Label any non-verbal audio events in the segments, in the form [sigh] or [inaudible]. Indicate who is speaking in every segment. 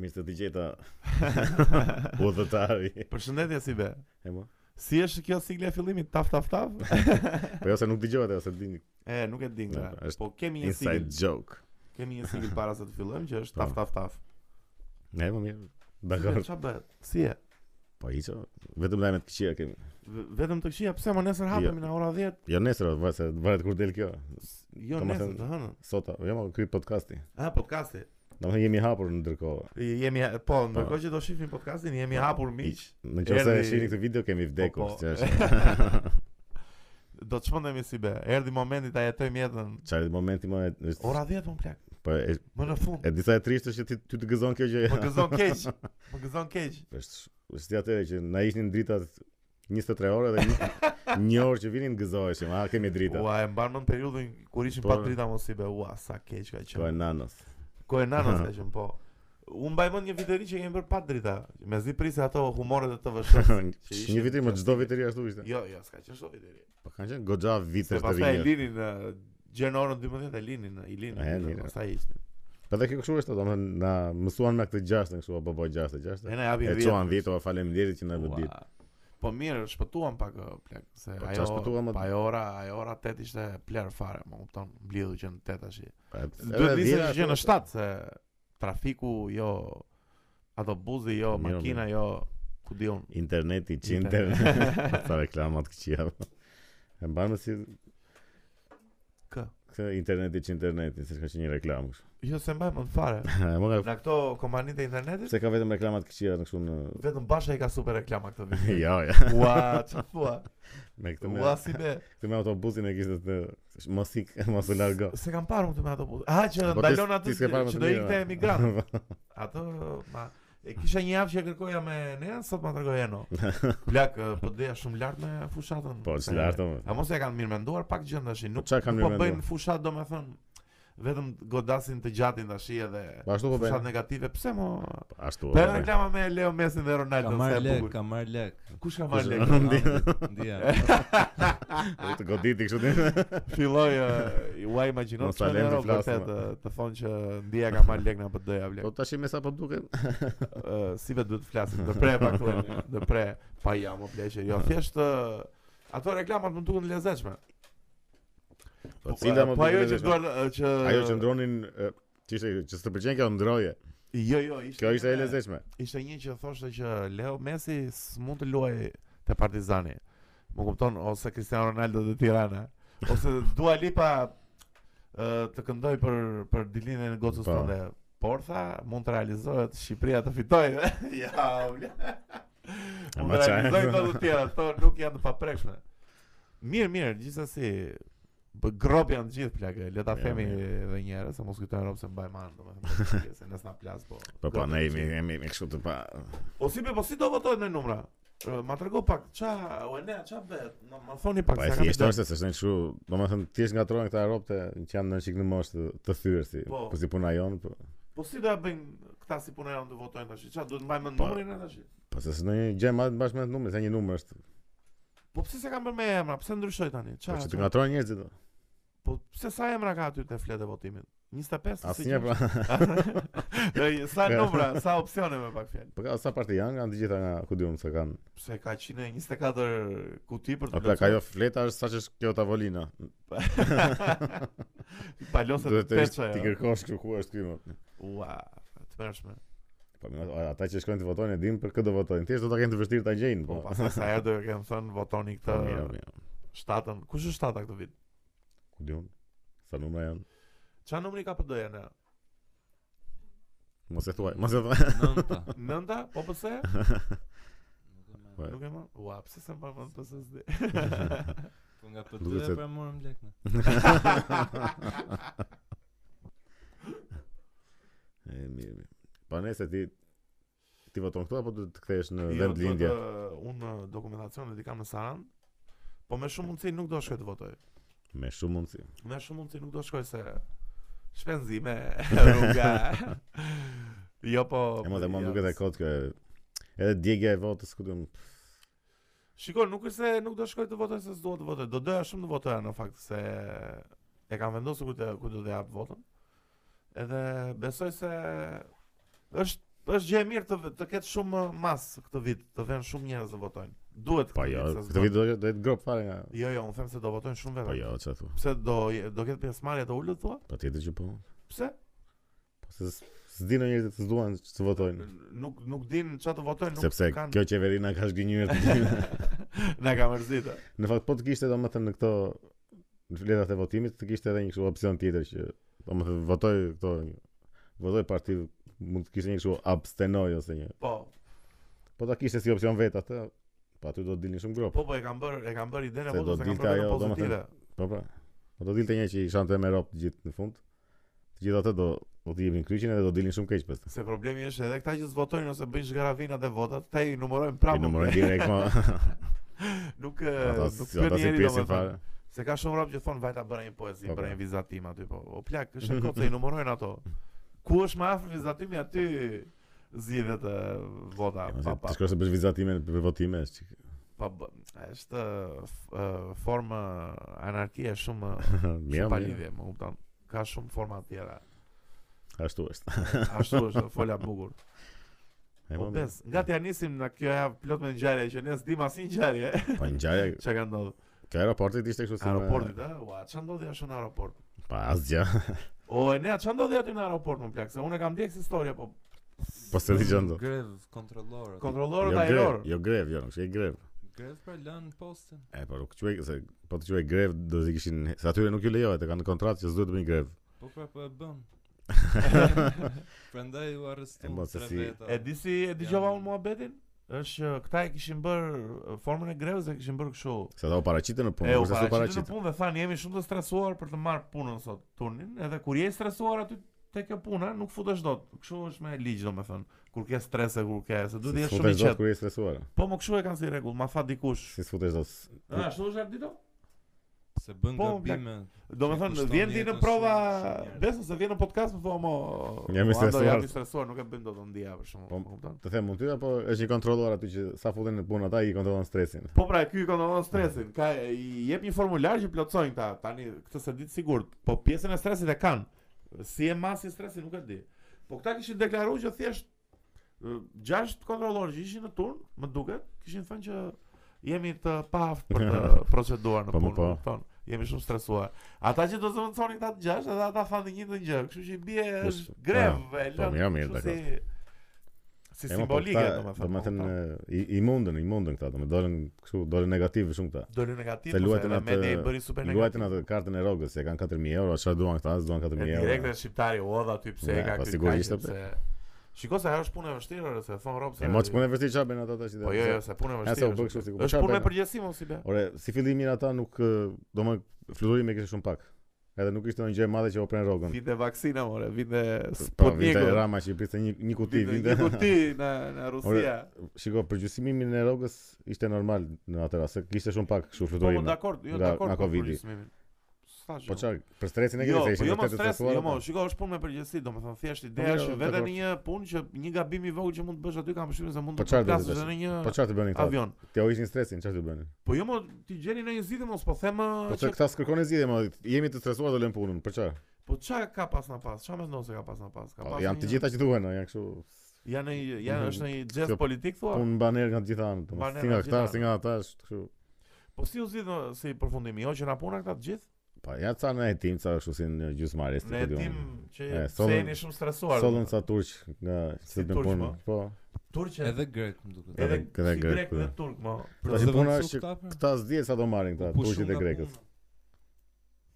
Speaker 1: ishte të
Speaker 2: [laughs]
Speaker 1: gjeta udhëtari.
Speaker 2: Përshëndetje si be.
Speaker 1: E mo.
Speaker 2: Si është kjo sigla e fillimit? Taf taf taf.
Speaker 1: Po jo se nuk dëgjohet ajo se dini.
Speaker 2: E, nuk e di nga.
Speaker 1: Po, është
Speaker 2: Po kemi një
Speaker 1: Inside
Speaker 2: sigël.
Speaker 1: joke.
Speaker 2: Kemi një sigël para se të fillojmë që është taf
Speaker 1: Po.
Speaker 2: taf
Speaker 1: [laughs]
Speaker 2: taf.
Speaker 1: Ne po mirë.
Speaker 2: Si be,
Speaker 1: Dakor.
Speaker 2: Ç'a bëhet? Si e?
Speaker 1: Po hiço, vetëm lajme të këqija kemi.
Speaker 2: V- Vetëm të këshia, pse më nesër hapemi në ora 10?
Speaker 1: Jo nesër, o, se varet kur del kjo.
Speaker 2: S- Jo
Speaker 1: Ta më
Speaker 2: nesër
Speaker 1: thënë-
Speaker 2: të hënën.
Speaker 1: Sota, jo më ky podcasti.
Speaker 2: Ah, podcasti.
Speaker 1: Domethënë jemi hapur ndërkohë.
Speaker 2: Jemi po, ndërkohë që do shihni podcastin, jemi
Speaker 1: Po.
Speaker 2: hapur miq.
Speaker 1: Në qoftë se
Speaker 2: Erdi-
Speaker 1: e shihni këtë video kemi vdekur,
Speaker 2: Po, po.
Speaker 1: që
Speaker 2: [laughs]
Speaker 1: është
Speaker 2: Do të shpëndemi si be. Erdhi momenti ta jetojmë jetën.
Speaker 1: çfarë momenti më e- është-
Speaker 2: Ora 10 më plak.
Speaker 1: po e,
Speaker 2: Më në fund.
Speaker 1: e disa e trishtë është që ti ty të gëzon kjo gjë.
Speaker 2: Më Po, gëzon keq. Më gëzon keq.
Speaker 1: [laughs] Është është atëre që na ishin dritat 23 orë dhe një,
Speaker 2: [laughs]
Speaker 1: një orë që vinin gëzoheshim, a kemi drita.
Speaker 2: Ua, e mban mend periudhën kur ishim
Speaker 1: Po.
Speaker 2: pa drita mos i be. Ua, sa keq ka
Speaker 1: Kjo Po, e
Speaker 2: qenë.
Speaker 1: nanës.
Speaker 2: Ko e nanës ka qenë, po. Unë mbaj mend një vitëri që kemi bërë pa drita. Mezi prisë ato humoret e
Speaker 1: [laughs]
Speaker 2: TVSH. që ishin-
Speaker 1: një vitër, më çdo vitëri ashtu ishte.
Speaker 2: Jo, jo, s'ka qenë çdo vitëri.
Speaker 1: Po kanë qenë goxha
Speaker 2: Se
Speaker 1: vitër të
Speaker 2: Po, pastaj e
Speaker 1: rinj.
Speaker 2: linin ë, gjen orën 12 e linin, e linin.
Speaker 1: E,
Speaker 2: e
Speaker 1: linin.
Speaker 2: linin, Pastaj ishin.
Speaker 1: Po dhe kjo kështu është, domethënë na mësuan me këtë 6 kështu apo po 6
Speaker 2: E
Speaker 1: 6.
Speaker 2: na japin
Speaker 1: E
Speaker 2: 10.
Speaker 1: çuan 10, o faleminderit që na
Speaker 2: Ua.
Speaker 1: vëdit.
Speaker 2: Po mirë, shpëtuam pak ë, plak, se
Speaker 1: Po,
Speaker 2: ajo
Speaker 1: çfarë shpëtuam, më-
Speaker 2: pa ajo ora, ajo ora 8 ishte pler fare, më kupton, mblidhu që në 8 tash.
Speaker 1: Duhet
Speaker 2: Duhet të ishte që në 7 se trafiku jo autobusi jo,
Speaker 1: Mirë,
Speaker 2: makina jo, ku di unë.
Speaker 1: Interneti
Speaker 2: Inter-
Speaker 1: çinter. [laughs] Sa reklamat këqija. po. E mbanë si
Speaker 2: Kë?
Speaker 1: këtë interneti çinterneti, siç ka qenë një reklamë [laughs] kështu.
Speaker 2: Jo se mbaj më fare.
Speaker 1: E mo ka
Speaker 2: Në këto kompanitë e internetit
Speaker 1: pse ka vetëm reklamat këqija në kështu në [laughs]
Speaker 2: vetëm Basha i ka super reklama këtë vit.
Speaker 1: Jo, jo.
Speaker 2: Ua, çfarë thua?
Speaker 1: Me këtë me,
Speaker 2: Ua si be.
Speaker 1: këtë me autobusin e kishte të mos ik, [laughs] mos u largo.
Speaker 2: Se kam parë unë këtë me autobus. Ah, që
Speaker 1: Po, ti-
Speaker 2: ndalon
Speaker 1: ti
Speaker 2: atë
Speaker 1: s'ke parë më të
Speaker 2: që do
Speaker 1: mirë,
Speaker 2: ikte
Speaker 1: ma.
Speaker 2: emigrant. Ato ma e kisha një javë që e kërkoja me Nean, sot ma tregoi Eno. Plak, e, po deja shumë lart me fushatën.
Speaker 1: Po,
Speaker 2: Se-
Speaker 1: çlartë.
Speaker 2: A mos e kanë mirë menduar pak gjë tash,
Speaker 1: Po
Speaker 2: nuk
Speaker 1: çka kanë
Speaker 2: nuk
Speaker 1: mirë
Speaker 2: po
Speaker 1: menduar?
Speaker 2: bëjnë fushat domethën vetëm godasin të gjatin tash edhe
Speaker 1: Po ashtu po
Speaker 2: fushat
Speaker 1: bëjnë.
Speaker 2: negative. Pse mo?
Speaker 1: Ashtu. po
Speaker 2: Po
Speaker 1: bëjnë.
Speaker 2: reklama me Leo Messi dhe
Speaker 3: Ka
Speaker 2: Ronaldo
Speaker 3: marr
Speaker 2: se e
Speaker 3: lek,
Speaker 2: bukur.
Speaker 3: ka marr lek.
Speaker 2: Kush ka marrë lek?
Speaker 3: Ndija.
Speaker 1: Po të goditi kështu [laughs] ti.
Speaker 2: [laughs] Filloi e, ua imagjino
Speaker 1: Mos
Speaker 2: çfarë
Speaker 1: alem të
Speaker 2: ero
Speaker 1: flasim,
Speaker 2: vërtet e, të thonë që ndjeja ka marrë lek në PD-ja vlek.
Speaker 1: Po tash me sa po duken.
Speaker 2: Ë, si vetë duhet të flasim, do pre pak këtu, do pre pa ja më pleqe. Jo, thjesht ë, ato reklamat më duken të lezetshme.
Speaker 1: Po cila më
Speaker 2: po ajo që
Speaker 1: duket,
Speaker 2: duar ë, që
Speaker 1: Ajo që ndronin ë, çishte që s'të pëlqen kjo ndroje.
Speaker 2: Jo, jo, ishte.
Speaker 1: Kjo ishte e
Speaker 2: një-
Speaker 1: lezetshme.
Speaker 2: Ishte një që thoshte që Leo Messi s'mund të luajë te Partizani. Më kupton ose Cristiano Ronaldo te Tirana, ose Dua Lipa ë, të këndoj për për dilinën e gocës
Speaker 1: Po.
Speaker 2: tonë. Por tha, mund të realizohet Shqipëria të fitojë. [laughs] ja, ule. Mund
Speaker 1: ma
Speaker 2: të
Speaker 1: çaj.
Speaker 2: realizohet ato të tjera, to nuk janë të paprekshme. Mirë, mirë, gjithsesi bë grop janë të gjithë plagë. Le ta
Speaker 1: Ja,
Speaker 2: themi
Speaker 1: mirë.
Speaker 2: edhe një herë se mos kujtojnë rob se mbajmë
Speaker 1: [laughs]
Speaker 2: anë, domethënë, se nësna plas po.
Speaker 1: Po po
Speaker 2: grop
Speaker 1: ne
Speaker 2: janë të
Speaker 1: jemi
Speaker 2: gjithë.
Speaker 1: jemi me kështu të pa.
Speaker 2: O si be, po si do votojnë me numra? E, Ma trego pak, qa, o e ne, qa bet, ma, ma thoni pak
Speaker 1: Po e
Speaker 2: sa
Speaker 1: thjesht
Speaker 2: kandidat-
Speaker 1: është se s'në kështu, domethënë thjesht ngatrohen këta europë që janë në shik në moshë të, të thyrë si,
Speaker 2: Po.
Speaker 1: po si puna jon, po.
Speaker 2: Po si do ja bëjnë këta si punë janë të votojnë tash? Qa, duhet mbajmë në
Speaker 1: Po.
Speaker 2: numrin e tash?
Speaker 1: Po se s'në një gjë më bashkë me numrin, se një numër është.
Speaker 2: Po pse se kanë bërë me emra, pse ndryshoj tani? Qa,
Speaker 1: Po që të
Speaker 2: qa?
Speaker 1: ngatrohen njerëzit. do.
Speaker 2: po pse sa emra ka aty të fletë e votimin? 25 ose
Speaker 1: Asnjë
Speaker 2: [laughs]
Speaker 1: pra. [laughs]
Speaker 2: pra. sa numra, sa opsione me pak fjalë.
Speaker 1: Po ka sa parti janë, kanë të gjitha nga ku diun se kanë.
Speaker 2: Pse ka 124 kuti për të
Speaker 1: Ata ka jo. [laughs] ajo fleta është saqë është kjo tavolina.
Speaker 2: Palose të
Speaker 1: Duhet Po të ish-
Speaker 2: peçë.
Speaker 1: ti kërkosh kërku ku është ky më.
Speaker 2: Ua, të mërshme.
Speaker 1: Po më ata që shkojnë të votojnë e din për këtë do votojnë. Thjesht do ta kenë të vështirë ta gjejnë.
Speaker 2: Po pastaj sa herë do ju kem thënë votoni
Speaker 1: Po, mirë,
Speaker 2: këtë
Speaker 1: mirë.
Speaker 2: shtatën. Kush është shtata këtë vit?
Speaker 1: Ku diun? Sa numra janë?
Speaker 2: Qa numri ka PD-ja në?
Speaker 1: Mos e thuaj, [laughs] mos e thuaj.
Speaker 3: Nënta.
Speaker 2: Nënda? Po pëse?
Speaker 1: Po,
Speaker 2: Nuk e më? Ua, pëse se më më të pëse s'di?
Speaker 3: Po nga
Speaker 1: Duket se-
Speaker 3: PD pra morëm lek. ne.
Speaker 1: e, mirë, mirë. Po nëse ti ti voton këtu apo do të kthehesh në
Speaker 2: Jo, uh,
Speaker 1: vend
Speaker 2: do
Speaker 1: lindje?
Speaker 2: të- Unë dokumentacionet i kam në Saran, po me shumë mundësi nuk do shkoj të votoj.
Speaker 1: Me shumë mundësi.
Speaker 2: Me shumë mundësi nuk do shkoj se shpenzime, [laughs] rruga.
Speaker 1: [laughs]
Speaker 2: Jo po.
Speaker 1: E më dhe më
Speaker 2: ja,
Speaker 1: duket e kot kjo. e- Edhe djegja e votës ku diun.
Speaker 2: Shiko, nuk është se nuk do shkoj të votoj se s'dua të votoj. Do doja shumë të votoja në fakt se e kam vendosur ku të ku do të jap votën. Edhe besoj se është është gjë e mirë të v- të ketë shumë uh, mas këtë vit, të vënë shumë njerëz të votojnë. Duhet
Speaker 1: Po
Speaker 2: këtë
Speaker 1: jo,
Speaker 2: vit se
Speaker 1: këtë
Speaker 2: s'vot-
Speaker 1: vit do do të grop fare nga.
Speaker 2: Jo, jo, unë them se do votojnë shumë
Speaker 1: Po
Speaker 2: vetë.
Speaker 1: jo, çfarë thua?
Speaker 2: Pse do do ketë pjesëmarrje të ulët thua?
Speaker 1: Patjetër që po.
Speaker 2: Pse?
Speaker 1: Po se s- s'dinë njerëzit të s'duan që të votojnë.
Speaker 2: N- Nuk nuk din çfarë të votojnë, nuk
Speaker 1: Sepse
Speaker 2: kanë. [laughs]
Speaker 1: kjo qeveri na ka zgjënjur. [laughs]
Speaker 2: Na ka mërzitë.
Speaker 1: Në fakt po të kishte domethënë në këto në fletat e votimit të kishte edhe një kështu opsion tjetër që domethënë votoj këto votoj parti mund të kishte një kështu abstenoj ose një.
Speaker 2: Po,
Speaker 1: Po ta kishte si opsion vet atë, po aty do të dilnin shumë grop.
Speaker 2: po po e kanë bër, e kanë bër idenë
Speaker 1: Se
Speaker 2: apo do
Speaker 1: do
Speaker 2: të kanë
Speaker 1: dilte
Speaker 2: bërë
Speaker 1: ajo,
Speaker 2: vetëm
Speaker 1: domethënë,
Speaker 2: pozitive.
Speaker 1: Po pra. Po do dilte një që i shante me rop të gjithë në fund. Të gjithë ato do do të jepnin kryqin edhe do dilnin shumë keq pastaj.
Speaker 2: Se problemi është edhe këta që zvotojnë ose bëjnë zgaravinat e votat, ta i numërojnë prapë.
Speaker 1: I
Speaker 2: [laughs]
Speaker 1: numërojnë direkt ma.
Speaker 2: Nuk Pra, po,
Speaker 1: [laughs]
Speaker 2: e,
Speaker 1: Ata
Speaker 2: nuk
Speaker 1: s-
Speaker 2: bën
Speaker 1: ata si
Speaker 2: njeri
Speaker 1: pjesin
Speaker 2: domethënë.
Speaker 1: fare.
Speaker 2: Se ka shumë rob që thon vajta bëra një poezi,
Speaker 1: Po,
Speaker 2: bëra
Speaker 1: po.
Speaker 2: një vizatim aty, po o plak,
Speaker 1: [laughs]
Speaker 2: është e kotë i numërojnë ato. Ku është më afër vizatimi aty zgjidhet ë, vota
Speaker 1: Ja,
Speaker 2: pa
Speaker 1: se Të
Speaker 2: pa.
Speaker 1: shkosh të bësh vizatime për votime është që- [laughs]
Speaker 2: pa bë- është ë, f- ë, formë ë, anarkie shumë
Speaker 1: [laughs]
Speaker 2: ë,
Speaker 1: mirë. po,
Speaker 2: shumë pa
Speaker 1: mirë.
Speaker 2: lidhje, më kupton. Ka shumë forma të
Speaker 1: [laughs]
Speaker 2: tjera.
Speaker 1: Ashtu është.
Speaker 2: Ashtu është fola e bukur.
Speaker 1: E,
Speaker 2: Po
Speaker 1: po, mirë.
Speaker 2: bes, nga t'ja nisim në kjo javë plot me ngjarje që ne s'dim asnjë ngjarje [laughs]
Speaker 1: Po ngjarja
Speaker 2: çka ka ndodhur.
Speaker 1: Ka aeroportit ishte kështu si me-
Speaker 2: Aeroporti da, ua, ç'a ndodhi ashtu në aeroport?
Speaker 1: Pa asgjë.
Speaker 2: O, e ne ç'a ndodhi aty në aeroport më plak, se unë e kam ndjekë historia, po
Speaker 1: Po se dëgjon do.
Speaker 3: Grev kontrollorët.
Speaker 1: Jo
Speaker 2: kontrollorët
Speaker 1: grev,
Speaker 2: ajror.
Speaker 1: jo grev, jo, nuk është e grev.
Speaker 3: Grev pra lën postën.
Speaker 1: E po nuk quaj se po të quaj grev do të kishin se atyre nuk ju lejohet, e kanë në kontratë që s'duhet të bëjnë grev.
Speaker 3: Po pra po e
Speaker 1: [laughs]
Speaker 3: bën. Prandaj u arrestuan
Speaker 1: E mos e
Speaker 3: tre
Speaker 1: si-
Speaker 3: veta.
Speaker 2: E di si e dëgjova
Speaker 3: Janë-
Speaker 2: unë muhabetin? Është që këta e kishin bër e, formën e grevës e kishin bër kështu.
Speaker 1: Se ata u paraqiten në punë,
Speaker 2: E u
Speaker 1: kurse s'u
Speaker 2: paraqitën në
Speaker 1: paraqiten.
Speaker 2: punë dhe thanë jemi shumë të stresuar për të marrë punën sot turnin, edhe kur je i stresuar aty te kjo puna nuk futesh dot. Kështu është me ligj domethënë. Kur ke stres e kur ke, se duhet të jesh shumë i
Speaker 1: qetë
Speaker 2: qetë.
Speaker 1: kur je stresuar.
Speaker 2: Po më kështu e kanë si rregull, ma tha dikush.
Speaker 1: Si sfutesh dot.
Speaker 2: A, ashtu është Ardito?
Speaker 3: Se bën
Speaker 2: Po, plak.
Speaker 3: gabime.
Speaker 2: Do me thënë,
Speaker 3: kushton
Speaker 2: vjen ti në
Speaker 3: jetën
Speaker 2: prova,
Speaker 3: shumë- shumë njerëz.
Speaker 2: besë se vjen në podcast, më thua mo...
Speaker 1: Jam i
Speaker 2: mo, Ando, Jam
Speaker 1: stresuar.
Speaker 2: i stresuar, nuk e bëjmë do të ndija, për shumë,
Speaker 1: Po,
Speaker 2: po, kupton?
Speaker 1: Të them mund ty apo është një kontrollor aty që sa futen në punë ata i kontrollon stresin.
Speaker 2: Po pra, ky i kontrollon stresin, ka, i jep një formular që plotësojnë këta, tani, këtë se ditë sigurt, po pjesën e stresit e kanë, si e masi stresin, nuk e di. Po këta kishin deklaruar që thjesht, ë, gjashtë kontrollorë që ishin në turn, më duket, kishin thënë që jemi të paaft për të
Speaker 1: [laughs]
Speaker 2: proceduar në
Speaker 1: Po, po,
Speaker 2: punë,
Speaker 1: po.
Speaker 2: kupton? Jemi shumë stresuar. Ata që do të zëvendësonin këta të gjashtë, edhe ata fanë të njëjtën gjë, kështu që i bie
Speaker 1: Kus-
Speaker 2: është grev, e
Speaker 1: po,
Speaker 2: lënë.
Speaker 1: mirë, mirë,
Speaker 2: kështu si si simbolike,
Speaker 1: po,
Speaker 2: domethënë. po, pra.
Speaker 1: Do me thënë
Speaker 2: kupton?
Speaker 1: e, i, i mundën, i mundën këta, do me dolën kështu, dolën negativ shumë këta.
Speaker 2: Doli negativ,
Speaker 1: se
Speaker 2: ose
Speaker 1: luajtën
Speaker 2: edhe
Speaker 1: atë-
Speaker 2: media i bëri super negativ.
Speaker 1: Luajtën atë kartën e rrogës, se kanë 4000 euro, çfarë duan këta, s'duan
Speaker 2: E
Speaker 1: 4000 euro.
Speaker 2: direkt e shqiptari u odha aty pse e
Speaker 1: Ne,
Speaker 2: ka
Speaker 1: po
Speaker 2: këtë
Speaker 1: sigurisht,
Speaker 2: kaqe,
Speaker 1: po.
Speaker 2: se Shiko se ajo është punë e vështirë, ore, se thon rob se
Speaker 1: E mos punë vështirë çfarë bën ata tash.
Speaker 2: Po jo, jo, se punë e
Speaker 1: Ja, se
Speaker 2: vështirë.
Speaker 1: u bë
Speaker 2: është.
Speaker 1: kështu si ku- Po,
Speaker 2: Është
Speaker 1: çfarë
Speaker 2: punë me
Speaker 1: bëjnë?
Speaker 2: përgjegjësi mos i bë.
Speaker 1: Ore, si fillimin ata nuk, ë, do më fluturimi kishte shumë pak. Edhe nuk ishte një gjë e madhe që u pren rrogën.
Speaker 2: Vinte vaksina, more, vinte
Speaker 1: Po vinte
Speaker 2: Sputniku.
Speaker 1: Rama që i priste një, një kuti,
Speaker 2: Vinte
Speaker 1: vinte.
Speaker 2: një kuti në në Rusia.
Speaker 1: [laughs] Shiko, përgjysmimin e rrogës ishte normal në atë rast, se kishte shumë pak kështu
Speaker 2: Po po,
Speaker 1: fluturime.
Speaker 2: dakord, jo
Speaker 1: nga-
Speaker 2: dakord
Speaker 1: nga
Speaker 2: po
Speaker 1: Covidi.
Speaker 2: përgjysmimin. S'thash.
Speaker 1: Po çfarë, për stresin e
Speaker 2: Jo,
Speaker 1: këtij se
Speaker 2: po
Speaker 1: ishin
Speaker 2: jo mos
Speaker 1: vërtet të
Speaker 2: stres, jo
Speaker 1: stresuar.
Speaker 2: mos. Shiko, është punë me përgjegjësi, domethënë thjesht ideja
Speaker 1: mirë,
Speaker 2: është
Speaker 1: jo, dakord.
Speaker 2: vetëm një punë që një gabim i vogël që mund të bësh aty kam përshtypjen se mund
Speaker 1: Po
Speaker 2: të
Speaker 1: çfarë do të
Speaker 2: plasësh
Speaker 1: bësh?
Speaker 2: në
Speaker 1: Po
Speaker 2: një
Speaker 1: çfarë të bënin këta?
Speaker 2: avion.
Speaker 1: Te u ishin stresin, çfarë të bënin?
Speaker 2: Po jo, mo, ti gjeni në një zgjidhje mos po them
Speaker 1: Po
Speaker 2: ë,
Speaker 1: çka
Speaker 2: që
Speaker 1: këta s'kërkonin zgjidhje, më jemi të stresuar do lëm punën. Për çfarë?
Speaker 2: Po qa ka pas në pas? Qa me ndonë se ka pas në pas? Ka
Speaker 1: Po,
Speaker 2: pas
Speaker 1: Janë
Speaker 2: një-
Speaker 1: të gjitha që duhen, janë kështu
Speaker 2: Janë një, janë, është një gest
Speaker 1: Kjo
Speaker 2: politik, thua?
Speaker 1: punë baner nga të gjitha anët. domos,
Speaker 2: Baner
Speaker 1: Si
Speaker 2: Po. nga
Speaker 1: nga
Speaker 2: të
Speaker 1: këta,
Speaker 2: gjitha
Speaker 1: si nga ata, është kështu.
Speaker 2: Po si u zidhë si përfundimi? Jo që na puna këta të gjithë?
Speaker 1: Po ja ca në hetim, ca kështu si në po gjysmarës.
Speaker 2: Në tim që
Speaker 1: E,
Speaker 2: se
Speaker 1: sollën-
Speaker 2: jeni shumë stresuar.
Speaker 1: Sollën sa turq nga
Speaker 2: Si
Speaker 1: si të
Speaker 2: turq,
Speaker 1: punë.
Speaker 2: mo?
Speaker 1: Po.
Speaker 2: Turqe, edhe,
Speaker 3: Edhe grek më duket.
Speaker 1: Edhe-
Speaker 2: si
Speaker 1: grek,
Speaker 2: grek
Speaker 1: po.
Speaker 2: dhe turk, mo.
Speaker 1: Po, si puna është që Këta s'dihet sa do marrin këta turqit e grekët.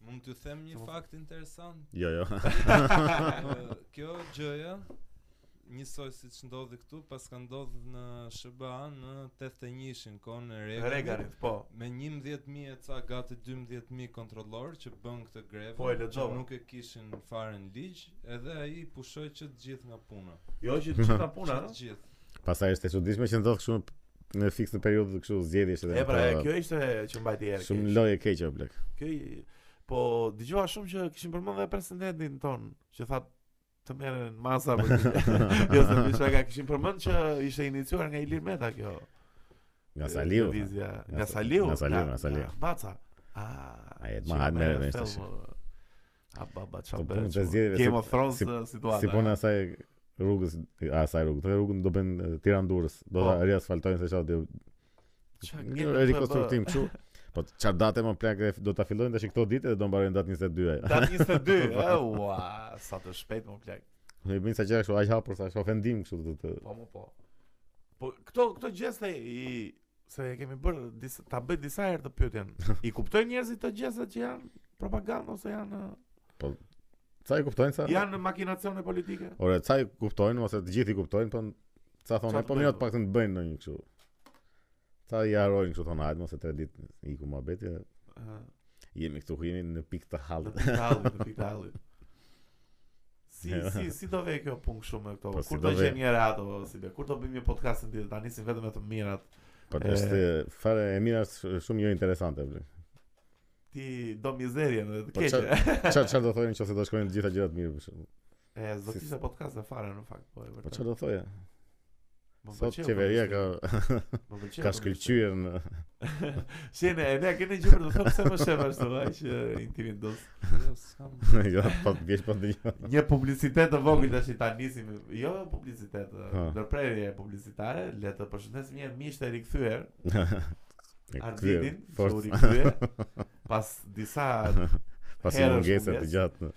Speaker 3: Mund t'ju them një
Speaker 2: Po.
Speaker 3: fakt interesant.
Speaker 1: Jo, jo.
Speaker 3: Ë, Kjo gjëja njësoj si që ndodhi këtu, pas ka ndodhë në SBA në 81-shin, kohën e Reaganit,
Speaker 2: Reganit, po.
Speaker 3: me 11.000 e ca gati 12.000 kontrollor që bën këtë grevë,
Speaker 2: Po, e
Speaker 3: që
Speaker 2: lexova.
Speaker 3: nuk e kishin fare në ligj, edhe ai pushoi që të gjithë nga puna.
Speaker 2: Jo
Speaker 1: [laughs]
Speaker 2: që të gjitha puna,
Speaker 3: Që
Speaker 2: ëh?
Speaker 3: të
Speaker 2: [laughs]
Speaker 3: gjithë.
Speaker 1: [laughs] Pastaj është e çuditshme që ndodh kështu në- në fiks në periudhë kështu zgjedhjesh edhe.
Speaker 2: E pra, e,
Speaker 1: këta-
Speaker 2: kjo ishte që mbajti erë.
Speaker 1: Shumë
Speaker 2: keq.
Speaker 1: lojë e keqe o blek.
Speaker 2: Kjo i- Po, dëgjova shumë që kishin përmendë dhe presidentin ton, që tha të merren masa
Speaker 1: [laughs]
Speaker 2: për [laughs] këtë. jo se më ka kishin përmend që ishte iniciuar nga Ilir Meta kjo.
Speaker 1: Nga Saliu.
Speaker 2: Lëvizja.
Speaker 1: Nga
Speaker 2: Nga
Speaker 1: Sa-
Speaker 2: Saliu. Ah,
Speaker 1: nga Saliu, nga Saliu.
Speaker 2: Baca. A,
Speaker 1: A, jetë,
Speaker 2: që
Speaker 1: ma,
Speaker 2: ka
Speaker 1: hajtë merre
Speaker 2: me
Speaker 1: me ishte
Speaker 2: film,
Speaker 1: si.
Speaker 2: uh, A baba
Speaker 1: Po,
Speaker 2: çfarë
Speaker 1: punët e
Speaker 2: bën?
Speaker 1: zgjedhjeve,
Speaker 2: Game
Speaker 1: si-
Speaker 2: of Thrones
Speaker 1: si-
Speaker 2: uh, situata.
Speaker 1: Si puna e saj rrugës, a asaj rrugë, të rrugën do bën Tiranë Durrës. Do ta
Speaker 2: Po.
Speaker 1: riasfaltojnë se çfarë do.
Speaker 2: Qa
Speaker 1: Një
Speaker 2: gjenë
Speaker 1: rikonstruktim kështu. Po çfarë date më plak e f- do ta fillojnë tash këto ditë dhe do mbarojnë datën 22 [laughs] ajo.
Speaker 2: [laughs] Ta 22,
Speaker 1: Po,
Speaker 2: e, ua, sa të shpejt më plak.
Speaker 1: Ne bëjmë sa gjëra kështu aq hapur sa është ofendim kështu të, të
Speaker 2: Po, më po. Po, këto, këto gjeste i... Se e kemi bërë, disa, ta bëj disa herë të
Speaker 1: [laughs]
Speaker 2: pyetjen. I kuptojnë njerëzit të gjestet që janë propagandë ose janë
Speaker 1: sa i kuptojnë sa.
Speaker 2: janë makinacione politike?
Speaker 1: Ore, ca i kuptojnë ose të gjithë i kuptojnë, po n- ca
Speaker 2: Qa
Speaker 1: thonë,
Speaker 2: të
Speaker 1: po
Speaker 2: bëjnë,
Speaker 1: mirë të
Speaker 2: po?"
Speaker 1: paktën të bëjnë ndonjë kështu. Ca i harojnë kështu thonë, hajde mos e tre ditë iku muhabeti. dhe
Speaker 2: Ëh.
Speaker 1: Jemi këtu ku jemi në pikë të
Speaker 2: Në
Speaker 1: hallit.
Speaker 2: Pikdalli, në Pikdalli. Si si si do vej kjo punë kështu me këto?
Speaker 1: Po, si
Speaker 2: kur
Speaker 1: do
Speaker 2: do
Speaker 1: vej?
Speaker 2: gjejmë një ratë o, si be? Kur do bëjmë një podcast ditë ta nisim vetëm me të mirat?
Speaker 1: Po
Speaker 2: E-
Speaker 1: është fare e mira sh- shumë jo interesante. bler.
Speaker 2: Ti do mizerien dhe të
Speaker 1: Po, qa-
Speaker 2: keqe.
Speaker 1: Çfarë çfarë do thonë nëse do shkojnë të gjitha gjërat mirë për shemb.
Speaker 2: [laughs] E, s'do
Speaker 1: si-
Speaker 2: kishte podcast e fare në fakt, po e
Speaker 1: Po
Speaker 2: vërtet.
Speaker 1: çfarë do thoje?
Speaker 2: Më
Speaker 1: Sot
Speaker 2: pëlqeu
Speaker 1: qeveria ka
Speaker 2: përgjithësisht.
Speaker 1: [laughs]
Speaker 2: Më pëlqeu
Speaker 1: ka
Speaker 2: përgjithësisht.
Speaker 1: shkëlqyer në [laughs]
Speaker 2: [laughs] Shene, e ne keni gjë për të thënë pse më shef ashtu, aq e, intimidos.
Speaker 3: Jo, s'kam.
Speaker 1: jo po të vjesh po të një.
Speaker 2: [laughs] Një publicitet të vogël tash i ta nisim, jo publicitet,
Speaker 1: Ha.
Speaker 2: ndërprerje publicitare, le të përshëndesim një herë miqtë e rikthyer,
Speaker 1: E
Speaker 2: Arditin,
Speaker 1: kthyer,
Speaker 2: që u
Speaker 1: forcë
Speaker 2: rikthye
Speaker 1: [laughs]
Speaker 2: pas disa
Speaker 1: pas një
Speaker 2: herësh
Speaker 1: mungese të
Speaker 2: munges.
Speaker 1: gjatë. në-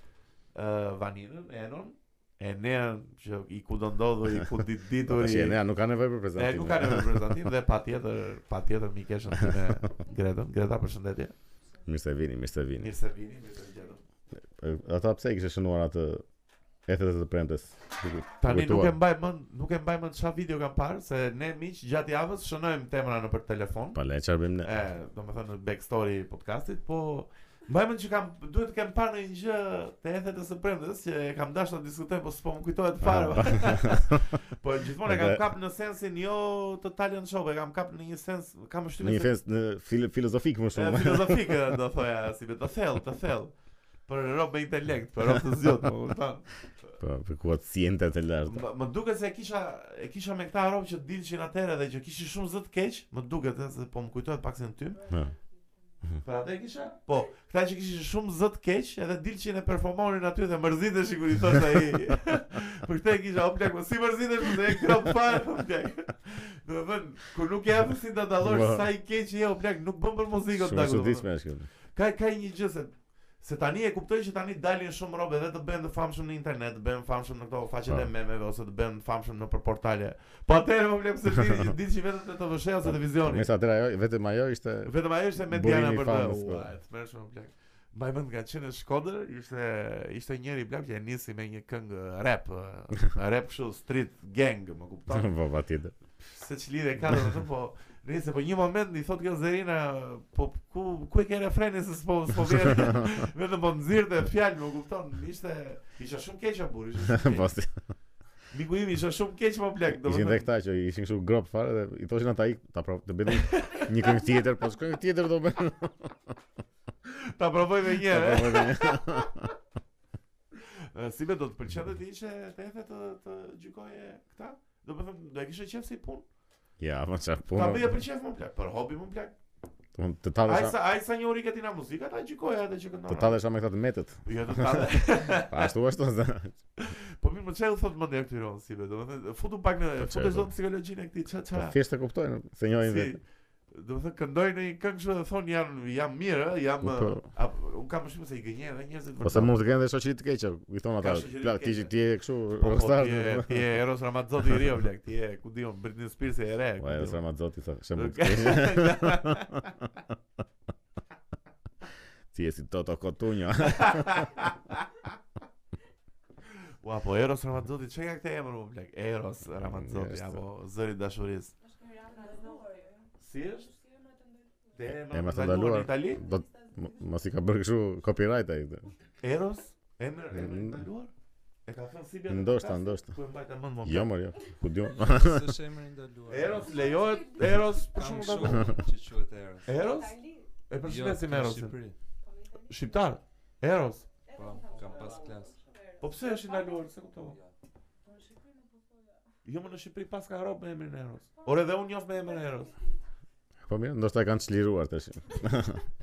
Speaker 2: uh, vaninën, enon, e nean që i ku do ndodhur, i ku dit ditur,
Speaker 1: Tash
Speaker 2: i...
Speaker 1: ne nuk ka nevojë për
Speaker 2: E
Speaker 1: prezantim.
Speaker 2: nuk ka nevojë për prezantim dhe patjetër, patjetër mikeshën time Gretën, Greta përshëndetje.
Speaker 1: Mirë se vini, mirë se vini.
Speaker 2: Mirë se vini, mirë se gjetëm.
Speaker 1: E, Ata pse i kishe shënuar atë ethet të premtes? Duke-
Speaker 2: Tani
Speaker 1: duke
Speaker 2: nuk e
Speaker 1: tuar.
Speaker 2: mbaj mend, nuk e mbaj mend çfarë video kam parë se ne miq gjatë javës shënojmë temra nëpër telefon.
Speaker 1: Pa le çfarë bëjmë ne?
Speaker 2: E, domethënë në backstory podcastit, po mbaj mend që kam duhet të kem parë në një gjë të ethet së premtes që e kam dashur të diskutoj, po s'po më kujtohet fare. [laughs] po gjithmonë e kam
Speaker 1: Ah, Edhe-
Speaker 2: kap në sensin jo të talent show, po e kam kap në një sens, kam
Speaker 1: Në
Speaker 2: vështirë
Speaker 1: një fest në fil filozofik më
Speaker 2: E,
Speaker 1: shumë.
Speaker 2: filozofike do thoja, si be të thellë, të thellë. Për rob me intelekt, për rob të zgjot, më kupton.
Speaker 1: Po, për kuaciente të lartë.
Speaker 2: Më, më duket se e kisha e kisha me këta rob që dilshin atëherë dhe që kishin shumë zë të keq, më duket ë, se po më kujtohet pak se në tym.
Speaker 1: Ha. Hmm.
Speaker 2: Për atë e kisha? Po, këta që kishin shumë zë të keq, edhe dilshin e performonin aty dhe mërziteshin kur i thosh ai.
Speaker 1: [laughs]
Speaker 2: për këtë e kisha o plak, po si mërzitesh se e krop fare o plak. Do të thënë, kur nuk jam si ta dallosh
Speaker 1: Ua.
Speaker 2: sa i keq je o plak, nuk bën për muzikën
Speaker 1: Shumë e
Speaker 2: taku, do të thënë.
Speaker 1: çuditshme është kjo.
Speaker 2: Ka ka një gjë se se tani e kuptoj që tani dalin shumë robe dhe të bëhen të famshëm në internet, të bëhen famshëm në këto faqet
Speaker 1: Po.
Speaker 2: e memeve ose të bëhen të famshëm në për portale. Po atëherë më vlem se ti
Speaker 1: [laughs]
Speaker 2: që ditë që vetëm te TV-shja ose televizioni.
Speaker 1: Mesë atëra ajo, vetëm ajo ishte
Speaker 2: Vetëm ajo ishte me
Speaker 1: Burimi
Speaker 2: Diana
Speaker 1: i
Speaker 2: për të.
Speaker 1: famës, po.
Speaker 2: Ua, e të mërshëm plak. Mbaj mend nga qenë në Shkodër, ishte ishte njëri blaq që e nisi me një këngë
Speaker 1: [laughs]
Speaker 2: rap, eh, rap kështu street gang, më kupton?
Speaker 1: po patjetër.
Speaker 2: se që lidhe ka do të thënë, po Nëse po një moment i thot kjo Zerina, po ku ku e ke refrenin se s'po s'po vjen.
Speaker 1: [laughs]
Speaker 2: Vetëm po nxirrte fjalë, më kupton? Ishte isha shumë keq burr,
Speaker 1: [laughs]
Speaker 2: ishte. shumë
Speaker 1: Po
Speaker 2: keq. Miku im isha shumë keq po më plak,
Speaker 1: Ishin dhe këta që ishin kështu grop fare dhe i thoshin ata ik, ta prov, të bëni një këngë tjetër, po shkojnë tjetër do
Speaker 2: [laughs]
Speaker 1: bëjnë.
Speaker 2: ta provoj me një.
Speaker 1: Ta
Speaker 2: e.
Speaker 1: provoj me një.
Speaker 2: Eh, Si be do të pëlqente ti ishe të ethe të të gjykoje këta? Do të thënë, do e kishe qef si punë?
Speaker 1: Ja, po çfarë
Speaker 2: Ta bëje
Speaker 1: punë.
Speaker 2: për qef më plak, për hobi më plak.
Speaker 1: Unë Të tallesh,
Speaker 2: Ai sa ai sa një orë ke ti na muzikë, ta gjykoja atë
Speaker 1: të
Speaker 2: që këndon.
Speaker 1: tallesh me këta të
Speaker 2: [laughs]
Speaker 1: metët.
Speaker 2: Jo, të tallë.
Speaker 1: Pa, Ashtu ashtu. [laughs] zë-
Speaker 2: Po mirë, më çaj u thot mendja këtyre on si be, domethënë futu pak në
Speaker 1: Po çaj,
Speaker 2: futu
Speaker 1: po.
Speaker 2: çdo psikologjinë e këtij ça
Speaker 1: Po
Speaker 2: ça.
Speaker 1: thjesht e kuptojnë, se njohin
Speaker 2: Si,
Speaker 1: vetë.
Speaker 2: domethënë këndoj në një këngë kështu dhe thon jam jam mirë, ë, jam
Speaker 1: Po.
Speaker 2: ë, ap- un kam përshtypjen se i gënjen edhe njerëzit
Speaker 1: Ose mund të kenë dhe shoqëri të keqe, i thon ata,
Speaker 2: Ka shoqëri të
Speaker 1: "Plak, ti
Speaker 2: keqe."
Speaker 1: ti je kështu
Speaker 2: Po, po,
Speaker 1: rockstar." [laughs]
Speaker 2: ti je- ti je Eros Ramazzotti i ri o blek, ti je ku diun Britney Spears e re.
Speaker 1: Po, Eros Ramazzotti sa shembull.
Speaker 2: Okej.
Speaker 1: [laughs] Ti je si Toto
Speaker 2: [laughs]
Speaker 1: Kotunjo.
Speaker 2: Ua, po Eros Ramazzotti, çka ka këtë emër o blek? Eros
Speaker 1: Mm,
Speaker 2: Ramazzotti
Speaker 1: Eros.
Speaker 2: apo Zëri i dashurisë. Si është?
Speaker 1: Emër
Speaker 2: Emër
Speaker 1: të ndaluar.
Speaker 2: në Itali?
Speaker 1: Do të- m- mos i ka bërë kështu copyright ai.
Speaker 2: Eros? Emër emër i
Speaker 1: Mm.
Speaker 2: ndaluar? E ka thënë Silvia. në
Speaker 1: Ndoshta,
Speaker 2: podcast?
Speaker 1: ndoshta.
Speaker 2: Ku e mbajta mend më?
Speaker 1: Jo, mor, jo. Ku
Speaker 2: [laughs]
Speaker 1: diu?
Speaker 3: Së emri ndaluar.
Speaker 2: Eros lejohet Eros për
Speaker 3: Kam
Speaker 2: shkak
Speaker 3: shumë që quhet Eros.
Speaker 2: Eros? E
Speaker 3: Jo,
Speaker 2: përshëndesim
Speaker 3: në
Speaker 2: Erosin.
Speaker 3: Shqipëri.
Speaker 2: Shqiptar. Eros.
Speaker 3: Po, kam pas klasë.
Speaker 2: Po pse është i ndaluar? Se kuptova.
Speaker 3: Po,
Speaker 2: Jo më në Shqipëri pas ka rob me emrin Eros. Ore dhe unë njoh me emrin Eros.
Speaker 1: Po mirë, ndoshta e kanë çliruar tash.